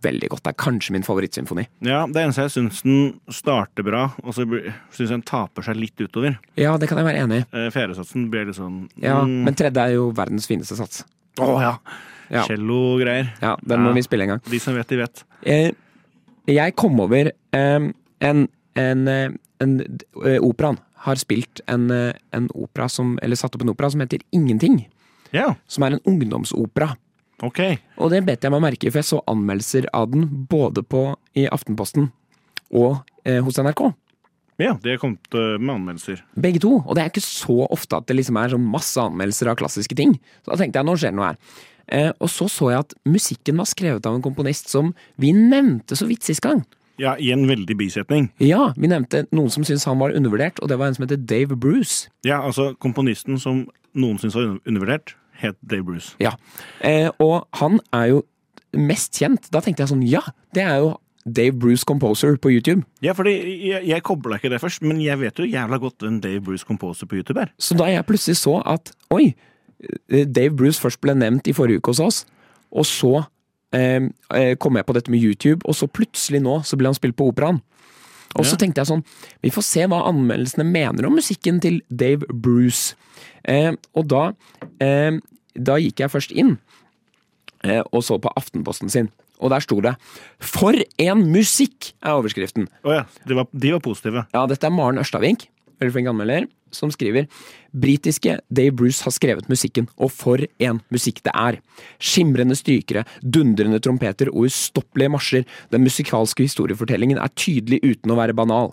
A: veldig godt. Det er kanskje min favorittsymfoni.
B: Ja, Det eneste jeg syns den starter bra, og så syns jeg den taper seg litt utover.
A: Ja, det kan jeg være enig i.
B: Eh, Fjerdesatsen blir litt sånn
A: Ja,
B: mm,
A: Men tredje er jo verdens fineste sats.
B: Å ja!
A: Ja.
B: Cello-greier.
A: Ja, Den må
B: Ja.
A: vi spille en gang.
B: De som vet, de vet.
A: Eh, jeg kom over eh, en, en eh, en, eh, operaen har spilt en, eh, en opera som, eller satt opp en opera som heter Ingenting.
B: Ja,
A: Som er en ungdomsopera.
B: ok.
A: Og det bet jeg meg merke i, for jeg så anmeldelser av den både på, i Aftenposten og eh, hos NRK.
B: Ja, det kom til med anmeldelser.
A: Begge to. Og det er ikke så ofte at det liksom er sånn masse anmeldelser av klassiske ting. Så da tenkte jeg nå skjer det noe her. Eh, og så så jeg at musikken var skrevet av en komponist som vi nevnte så vidt sist gang.
B: Ja, i en veldig bisetning.
A: Ja, vi nevnte noen som syntes han var undervurdert, og det var en som heter Dave Bruce.
B: Ja, altså, komponisten som noen syns var under- undervurdert, het Dave Bruce.
A: Ja. Eh, og han er jo mest kjent. Da tenkte jeg sånn, ja, det er jo Dave Bruce Composer på YouTube.
B: Ja, fordi jeg, jeg kobla ikke det først, men jeg vet jo jævla godt hvem Dave Bruce composer på YouTube er.
A: Så da jeg plutselig så at oi, eh, Dave Bruce først ble nevnt i forrige uke hos oss, og så eh, eh, kom jeg på dette med YouTube, og så plutselig nå så ble han spilt på operaen. Og så tenkte jeg sånn, vi får se hva anmeldelsene mener om musikken til Dave Bruce. Eh, og da, eh, da gikk jeg først inn eh, og så på Aftenposten sin, og der sto det 'For en musikk!' er overskriften.
B: Å ja, de var, de var positive.
A: Ja, dette er Maren Ørstavink, veldig flink anmelder, som skriver Britiske Dave Bruce har skrevet musikken, og for en musikk det er! Skimrende strykere, dundrende trompeter og ustoppelige marsjer. Den musikalske historiefortellingen er tydelig uten å være banal.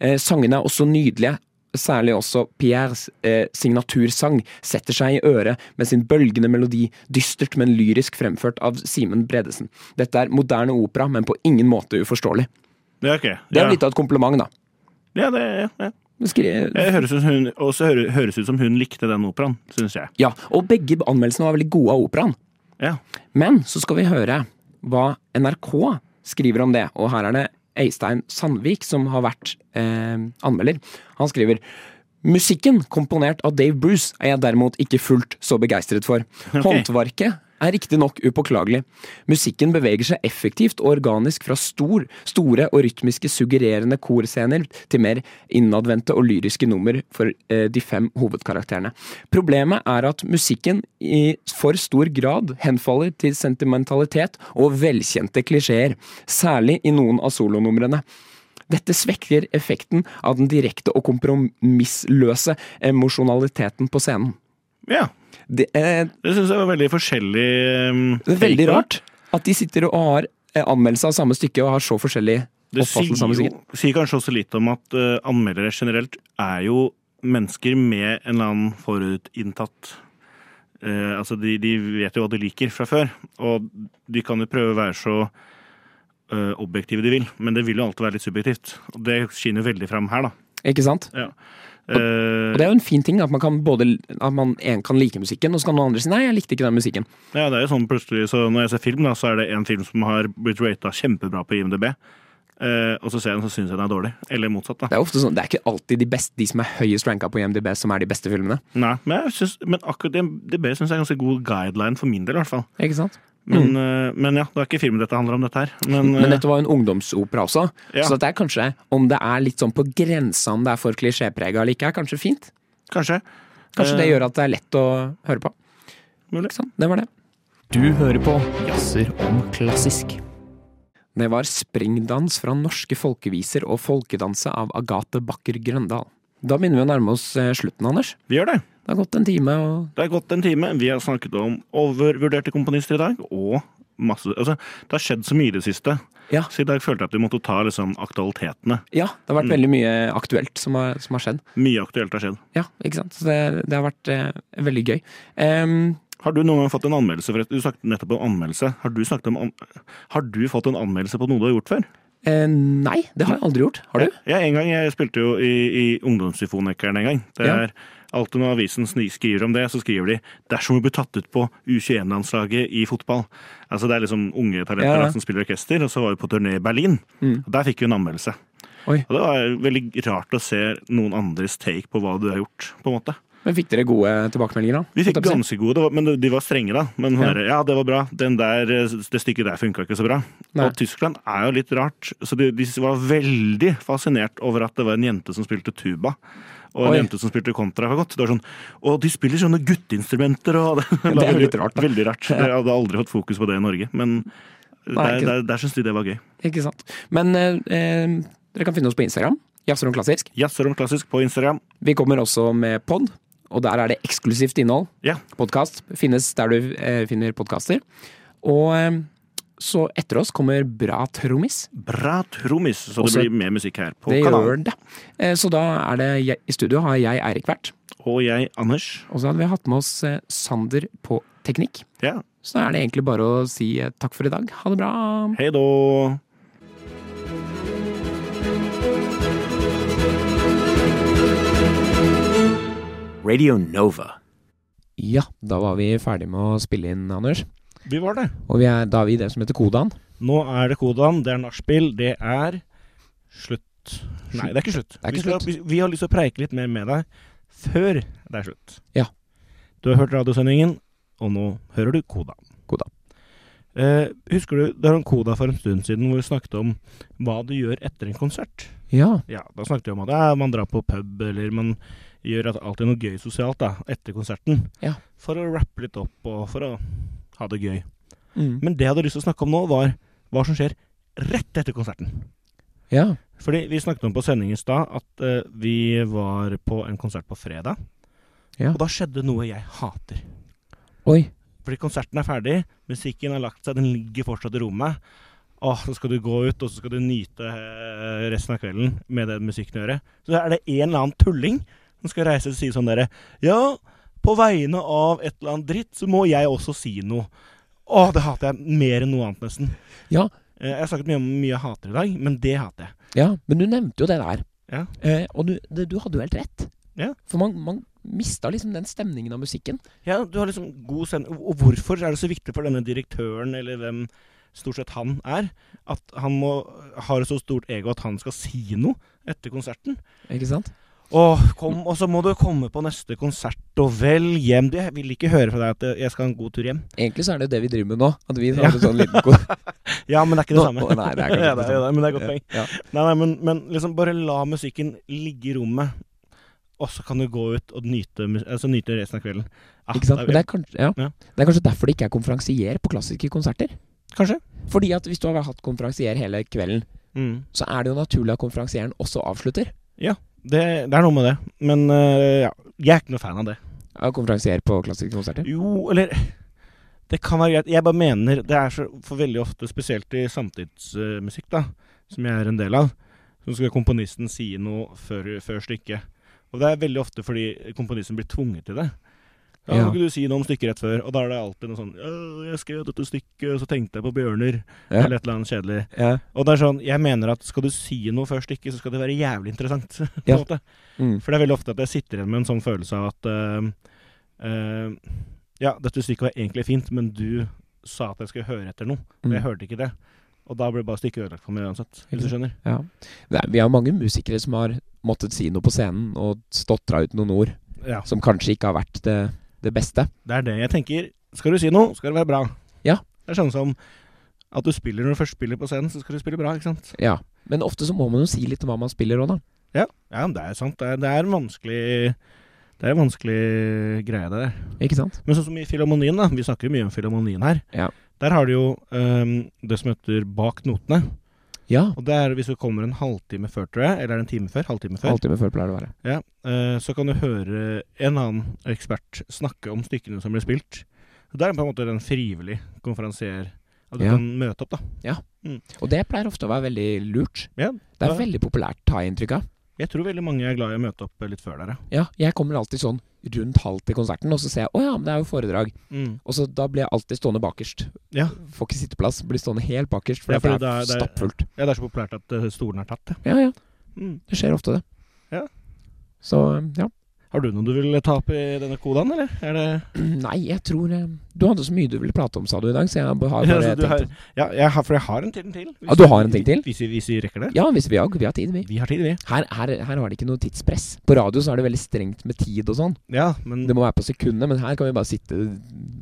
A: Eh, sangene er også nydelige. Særlig også Pierres eh, signatursang setter seg i øret med sin bølgende melodi, dystert, men lyrisk fremført av Simen Bredesen. Dette er moderne opera, men på ingen måte uforståelig.
B: Ja, ok.
A: Det
B: Ja,
A: er litt av et kompliment, da.
B: ja, det, ja, ja.
A: Skri-
B: Det høres ut som hun, også høres, høres ut som hun likte den operaen, syns jeg.
A: Ja, og begge anmeldelsene var veldig gode av operaen.
B: Ja.
A: Men så skal vi høre hva NRK skriver om det, og her er det Eistein Sandvik som har vært eh, anmelder. Han skriver Musikken komponert av Dave Bruce er jeg derimot ikke fullt så begeistret for. Håndverket er riktignok upåklagelig. Musikken beveger seg effektivt og organisk fra stor, store og rytmiske suggererende korscener til mer innadvendte og lyriske nummer for eh, de fem hovedkarakterene. Problemet er at musikken i for stor grad henfaller til sentimentalitet og velkjente klisjeer, særlig i noen av solonumrene. Dette svekker effekten av den direkte og kompromissløse emosjonaliteten på scenen.
B: ja.
A: Det eh, er,
B: Det syns jeg var veldig forskjellig. ehm,
A: det er veldig
B: take på
A: rart at de sitter og har eh, anmeldelse av samme stykke og har så forskjellig
B: Det sier,
A: oppfattelse av musikken.
B: jo, sier kanskje også litt om at eh, anmeldere generelt er jo mennesker med en eller annen forutinntatt eh, Altså, de, de vet jo hva de liker fra før, og de kan jo prøve å være så eh, objektive de vil, men det vil jo alltid være litt subjektivt. Og det skinner jo veldig fram her, da.
A: Ikke sant?
B: Eh,
A: Og det er jo en fin ting at man kan både at man en kan like musikken, og så kan noen andre si nei, jeg likte ikke den musikken.
B: Ja, det er jo sånn plutselig, så Når jeg ser film, da, så er det en film som har blitt rata kjempebra på IMDb. eh, og så ser jeg den, så syns jeg den er dårlig. Eller motsatt, da.
A: Det er ofte sånn, det er ikke alltid de, beste, de som er høyest ranka på IMDb, som er de beste filmene.
B: Nei, men, jeg synes, men akkurat IMDb syns jeg er en ganske god guideline for min del, i hvert fall.
A: Ikke sant?
B: Men, eh, men ja, det er ikke filmen dette handler om, dette her. Men,
A: Mm. Men
B: eh,
A: dette var jo en ungdomsopera også,
B: Ja.
A: så det er kanskje, om det er litt sånn på grensa om det er for klisjéprega eller ikke, er kanskje fint.
B: kanskje.
A: Kanskje det
B: Eh,
A: gjør at det er lett å høre på.
B: Mulig.
A: Sånn, det var det.
E: Du hører på Jazzer om klassisk.
A: Det var springdans fra norske folkeviser og folkedanse av Agathe Bakker Grøndal. Da begynner vi å nærme oss eh, slutten, Anders.
B: Vi gjør det.
A: Det har gått en time, og
B: Det er gått en time. Vi har snakket om overvurderte komponister i dag, og masse Altså, det har skjedd så mye i det siste.
A: Ja.
B: Så i dag følte jeg at vi måtte ta liksom, aktualitetene.
A: ja, det har
E: Mm.
A: vært veldig mye aktuelt som har, som har skjedd.
B: Mye aktuelt har skjedd.
A: Ja, ikke sant? Så det, det har vært eh, veldig gøy. Em,
B: Har du noen gang fått en anmeldelse? For du snakket nettopp om anmeldelse. Har du, snakket om an har du fått en anmeldelse på noe du har gjort før?
A: eh, nei, det har jeg aldri gjort. Har du?
B: Ja, en gang. Jeg spilte jo i, i Ungdomssymfonikeren en gang. Det
A: Ja.
B: er Alltid når avisen sni- skriver om det, så skriver de 'dersom hun blir tatt ut på U21-landslaget i fotball'. Altså Det er liksom unge talenter
A: Ja, ja.
B: da, som spiller orkester, og så var vi på turné i Berlin. Og Der fikk vi en anmeldelse.
A: Oi.
B: Og det var veldig rart å se noen andres take på hva du har gjort, på en måte.
A: Men fikk dere gode tilbakemeldinger da?
B: Vi
A: Holdt jeg
B: fikk
A: på å si.
B: ganske gode, det var- men de var strenge, da. Men sånn
A: Ja.
B: der, ja, det var bra. Den der, eh, det stykket der funka ikke så bra.
A: Nei.
B: Og Tyskland er jo litt rart, så de, de var veldig fascinert over at det var en jente som spilte tuba. Og en
A: Oi.
B: jente som spilte kontrafagott. Det var sånn Og de spiller sånne gutteinstrumenter og
A: Ja, det er jo litt rart, da.
B: Veldig rart. Jeg hadde aldri fått fokus på det i Norge, men
A: Nei,
B: der,
A: ikke-
B: der, der syns de det var gøy.
A: Ikke sant. Men eh, eh, dere kan finne oss på Instagram. Jazzer om klassisk.
G: Jazzer om klassisk på Instagram.
A: Vi kommer også med pod, og der er det eksklusivt innhold.
G: Ja.
A: Podkast finnes der du eh, finner podkaster. Og eh, så etter oss kommer Bra trommis.
G: Bra trommis, så
A: Også-
G: det blir mer musikk her på
A: Det
G: kanalen.
A: gjør det. Eh, Så da er det jeg, I studio har jeg Eirik vært.
G: Og jeg, Anders.
A: Og så hadde vi hatt med oss eh, Sander på teknikk.
G: Ja.
A: Så da er det egentlig bare å si eh, takk for i dag. Ha det bra.
G: Hei då.
H: Radio Nova.
A: Ja, da var vi ferdig med å spille inn, Anders.
B: Vi var det.
A: Og vi er, da er vi i det som heter Kodan.
B: Nå er det Kodan, det er nachspiel, det er slutt. Nei, det er ikke slutt.
A: Det er ikke
B: vi, skal, vi, vi har lyst til å preike litt mer med deg før det er slutt.
A: Ja.
B: Du har hørt radiosendingen, og nå hører du Kodan.
A: Kodan.
B: Eh, husker du det var en Koda for en stund siden hvor vi snakket om hva du gjør etter en konsert?
A: Ja.
B: Ja, da snakket vi om at ja, man drar på pub, eller man gjør at- alltid noe gøy sosialt da, etter konserten.
A: Ja.
B: For å rappe litt opp, og for å ha det gøy.
A: Mm.
B: Men det jeg hadde lyst til å snakke om nå, var hva som skjer rett etter konserten.
A: Ja.
B: Fordi vi snakket om på sending i stad at eh, vi var på en konsert på fredag.
A: Ja.
B: Og da skjedde noe jeg hater.
A: Oi.
B: Fordi konserten er ferdig, musikken har lagt seg, den ligger fortsatt i rommet. Åh, så skal du gå ut, og så skal du nyte eh, resten av kvelden med den musikken å gjøre. Så er det en eller annen tulling som skal reise og si sånn derre Ja, på vegne av et eller annet dritt, så må jeg også si noe. Åh, det hater jeg mer enn noe annet, nesten.
A: Ja.
B: Eh, Jeg har snakket mye om mye jeg hater i dag, men det hater jeg.
A: Ja, men du nevnte jo det der.
B: Ja.
A: Eh, og du, det, du hadde jo helt rett.
B: Ja.
A: For man, man mista liksom den stemningen av musikken.
B: Ja, du har liksom god stemning. Og hvorfor er det så viktig for denne direktøren, eller hvem stort sett han er, at han må, har et så stort ego at han skal si noe etter konserten?
A: Ikke sant?
B: Åh, kom, og så må du komme på neste konsert, og vel hjem. Du, jeg vil ikke høre fra deg at jeg skal ha en god tur hjem.
A: Egentlig så er det jo det vi driver med nå. At vi
B: Ja.
A: har en sånn liten ko
B: Ja, men det er ikke det samme.
A: Nå- nei, det er kanskje
B: ja,
A: ikke det
B: det,
A: samme.
B: men det er godt poeng.
A: Ja.
B: Nei, nei, men, men liksom bare la musikken ligge i rommet, og så kan du gå ut og nyte, mus- altså, nyte resten av kvelden. Ah,
A: Ikke sant?
B: da-
A: Men det er, kanskje, ja.
B: Ja.
A: det er kanskje derfor det ikke er konferansier på klassiske konserter.
B: Kanskje.
A: Fordi at hvis du har hatt konferansier hele kvelden,
B: Mm.
A: så er det jo naturlig at konferansieren også avslutter.
B: Det, det er noe med det. Men øh, ja, jeg er ikke noe fan av det.
A: Av eh, konferansier på klassiske konserter.
B: Jo, eller Det kan være greit. Jeg bare mener Det er så for veldig ofte, spesielt i samtidsmusikk, da, som jeg er en del av, så skal komponisten si noe før, før stykket. Og det er veldig ofte fordi komponisten blir tvunget til det. Ja,
A: Ja.
B: Kan ikke du si noe om stykket rett før? Og da er det alltid noe sånn «Øh, 'Jeg skrev dette stykket, og så tenkte jeg på bjørner.'
A: Ja.
B: Eller et eller annet kjedelig.
A: Ja.
B: Og det er sånn, jeg mener at skal du si noe før stykket, så skal det være jævlig interessant. på en
A: Ja.
B: måte.
A: Mm.
B: For det er veldig ofte at jeg sitter igjen med en sånn følelse av at eh, eh, Ja, dette stykket var egentlig fint, men du sa at jeg skulle høre etter noe, og jeg
A: Mm.
B: hørte ikke det. Og da ble bare stykket ødelagt for meg uansett, hvis du skjønner.
A: Ja. Det er, vi har mange musikere som har måttet si noe på scenen og stotra ut noen ord
B: Ja,
A: som kanskje ikke har vært det, det beste.
B: Det er det jeg tenker. Skal du si noe, skal det være bra.
A: Ja.
B: Det er sånn som at du spiller når du først spiller på scenen, så skal du spille bra, ikke sant?
A: Ja, men ofte så må man jo si litt om hva man spiller òg, da.
B: Ja, men det er sant. Det er, det er en vanskelig Det er en vanskelig greie, det der.
A: Ikke sant?
B: Men sånn som i Filharmonien, da. Vi snakker jo mye om Filharmonien her.
A: Ja.
B: Der har du jo ehm, det som heter Bak notene.
A: Ja.
B: Og det er hvis du kommer en halvtime før, tror jeg, eller er det en time før, halvtime før,
A: Halvtime før pleier det å være.
B: ja, eh, så kan du høre en annen ekspert snakke om stykkene som blir spilt. Så Det er på en måte en frivillig konferansier. At du
A: Ja.
B: kan møte opp, da.
A: Og det pleier ofte å være veldig lurt.
B: Ja,
A: Det er
B: ja.
A: veldig populært, tar jeg inntrykk av.
B: Jeg tror veldig mange er glad i å møte opp eh, litt før der, ja.
A: Ja, jeg kommer alltid sånn rundt halv til konserten, og så ser jeg å ja, men det er jo foredrag.
B: Mm.
A: Og så da blir jeg alltid stående bakerst.
B: Ja.
A: Får ikke sitteplass, blir stående helt bakerst, for
B: Ja, fordi
A: det er
B: det er- det er-
A: stappfullt.
B: ja. Det er så populært at eh, stolen er tatt, ja.
A: Ja, ja.
B: Mm.
A: Det skjer ofte, det.
B: Ja.
A: Så ja.
B: Har du noe du vil ta opp i denne kodaen, eller? Er det
A: Nei, jeg tror eh, Du hadde så mye du ville prate om, sa du i dag, så jeg har bare
B: Ja, så
A: tenkt
B: Altså, du har, ja, jeg har, for jeg har en til. til hvis
A: Ja, du har en ting til?
B: Hvis, vi- hvis vi rekker det.
A: Ja, hvis vi har, vi har tid, vi.
B: Vi har tid, vi.
A: Her, her, her har de ikke noe tidspress. På radio så er det veldig strengt med tid og sånn.
B: Ja, men
A: Det må være på sekundet, men her kan vi bare sitte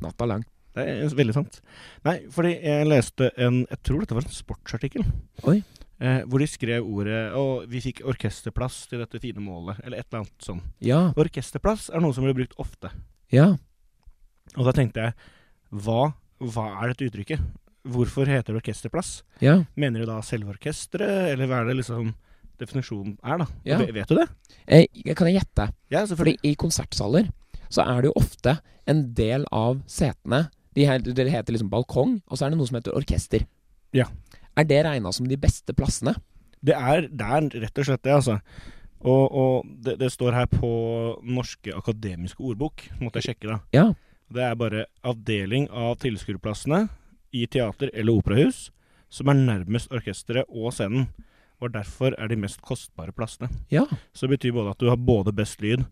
A: natta lang.
B: det er veldig sant. Nei, fordi jeg leste en Jeg tror dette var en sportsartikkel.
A: Oi.
B: Eh, hvor de skrev ordet Og vi fikk orkesterplass til dette fine målet, eller et eller annet sånn.
A: Ja,
B: Orkesterplass er noe som blir brukt ofte.
A: ja,
B: Og da tenkte jeg Hva, hva er dette uttrykket? Hvorfor heter det orkesterplass?
A: ja.
B: Mener de da selve orkesteret, eller hva er det liksom definisjonen er, da.
A: Ja.
B: Ve- Vet du det?
A: Eh, jeg- kan jeg gjette?
B: Ja,
A: Fordi
B: selvfølgelig.
A: i konsertsaler så er det jo ofte en del av setene de her, Det heter liksom balkong, og så er det noe som heter orkester.
B: Ja.
A: Er det regna som de beste plassene?
B: Det er, det er rett og slett det, altså. Og, og det, det står her på Norske akademiske ordbok, måtte jeg sjekke da.
A: Ja.
B: Det er bare avdeling av tilskuerplassene i teater eller operahus som er nærmest orkesteret og scenen. Og derfor er de mest kostbare plassene.
A: Ja,
B: Så det betyr både at du har både best lyd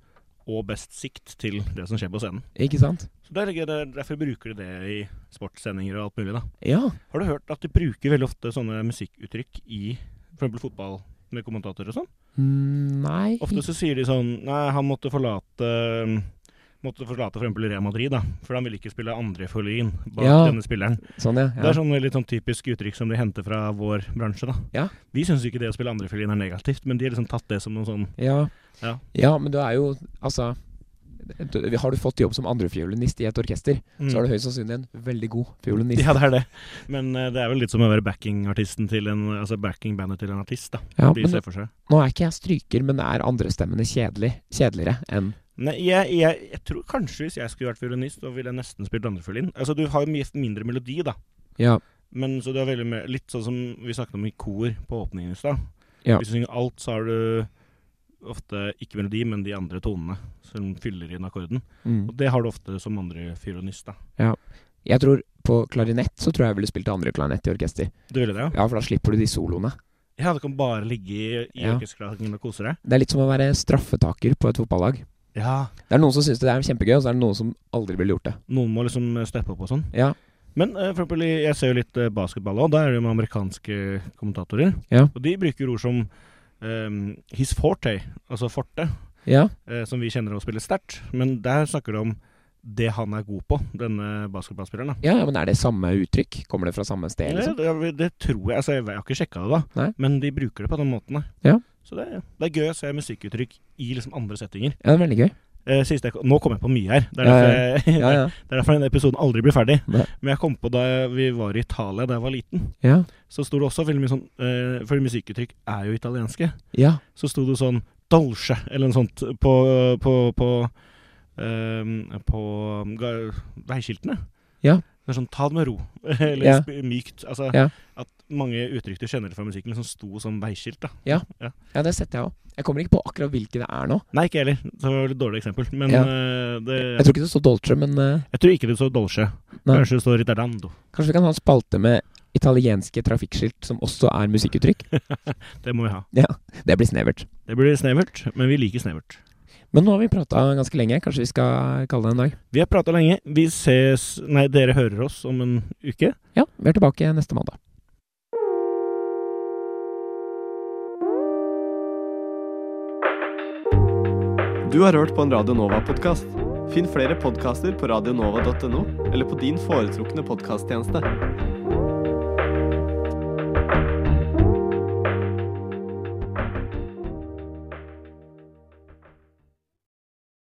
B: og best sikt til det som skjer på scenen.
A: ikke sant?
B: Så det er litt gøy, det er Derfor bruker de det i sportssendinger og alt mulig, da.
A: Ja.
B: Har du hørt at de bruker veldig ofte sånne musikkuttrykk i f.eks. fotball med kommentatorer og sånn?
A: Mm, Nei
B: Ofte så sier de sånn Nei, han måtte forlate Måtte forlate f.eks. Real Madrid, da. For han ville ikke spille andre fiolin bak
A: Ja.
B: denne spilleren.
A: Sånn, ja.
B: Det
A: ja.
B: er sånn litt sånn typisk uttrykk som de henter fra vår bransje, da.
A: Ja.
B: Vi syns ikke det å spille andre fiolin er negativt, men de har liksom tatt det som noe sånn
A: Ja.
B: Ja.
A: Ja, men du er jo Altså du- Har du fått jobb som andrefiolinist i et orkester, så er du høyst sannsynlig en veldig god fiolinist.
B: mm. Ja, det er det. Men eh, det er vel litt som å være backing-artisten til en Altså backing-bandet til en artist, da.
A: Ja,
B: de
A: men
B: ser for seg.
A: nå er ikke jeg stryker, men er andrestemmene kjedelig, kjedeligere enn
B: Nei, jeg, jeg, jeg tror kanskje hvis jeg skulle vært fiolinist, så ville jeg nesten spilt andrefiolin. Altså, du har jo mye mindre melodi, da.
A: Ja.
B: Men så du har veldig mer Litt sånn som vi snakket om i kor på åpningen i stad.
A: Ja.
B: Hvis du synger alt, så har du ofte ikke melodi, men de andre tonene som fyller inn akkorden.
A: Mm.
B: Og det har du ofte som andrefiolinist, da.
A: Jeg tror På klarinett så tror jeg jeg ville spilt andre klarinett i orkester.
B: Du ville det, ja?
A: Ja, for da slipper du de soloene.
B: Ja, du kan bare ligge i, i
A: Ja.
B: orkesterklassen og kose deg.
A: Det er litt som å være straffetaker på et fotballag.
B: Ja.
A: Det er noen som syns det er kjempegøy, og så er det noen som aldri ville gjort det.
B: Noen må liksom steppe opp og sånn.
A: Ja.
B: Men eh, for eksempel, i- jeg ser jo litt eh, basketball òg. Da er det jo med amerikanske kommentatorer.
A: Ja.
B: Og de bruker ord som ehm, his forte, altså forte,
A: Ja,
B: eh, som vi kjenner å spille sterkt. Men der snakker de om det han er god på, denne basketballspilleren. da.
A: ja, ja men er det samme uttrykk? Kommer det fra samme sted,
B: Det,
A: liksom?
B: det, det tror jeg. altså Jeg, jeg har ikke sjekka det, da.
A: Nei.
B: Men de bruker det på den måten. da.
A: Ja.
B: Så det, det er gøy å se musikkuttrykk i liksom andre settinger.
A: Ja, det er veldig gøy.
B: Eh, siste jeg, nå kom jeg på mye her. Det er
A: Ja,
B: derfor, jeg,
A: Ja, ja.
B: det er derfor den episoden aldri blir ferdig.
A: Nei.
B: Men jeg kom på da vi var i Italia da jeg var liten.
A: Ja.
B: så sto det også veldig mye sånn eh, For musikkuttrykk er jo italienske.
A: ja.
B: Så sto det sånn dolce, eller noe sånt, på, på, på, eh, på ga- veiskiltene.
A: Ja.
B: Det er sånn 'ta det med ro', eller
A: Ja.
B: sp- mykt. Altså
A: Ja.
B: at mange uttrykk du kjenner fra musikken, liksom sto som veiskilt. da.
A: Ja, det setter jeg òg. Jeg kommer ikke på akkurat hvilke det er nå.
B: Nei, ikke jeg heller. Det var et dårlig eksempel. Men
A: Ja.
B: eh, det,
A: Jeg tror ikke det står Dolce, men eh,
B: jeg tror ikke det står dolce.
A: Nei.
B: Kanskje det står ritardando.
A: kanskje vi kan ha en spalte med italienske trafikkskilt som også er musikkuttrykk?
B: Det må vi ha.
A: Det blir snevert.
B: Det blir snevert, men vi liker snevert.
A: Men nå har vi prata ganske lenge. Kanskje vi skal kalle det en dag?
B: Vi har prata lenge. Vi ses Nei, dere hører oss om en uke.
A: Ja, vi er tilbake neste mandag.
I: Du har hørt på en Radio Nova-podkast. Finn flere podkaster på radionova.no eller på din foretrukne podkasttjeneste.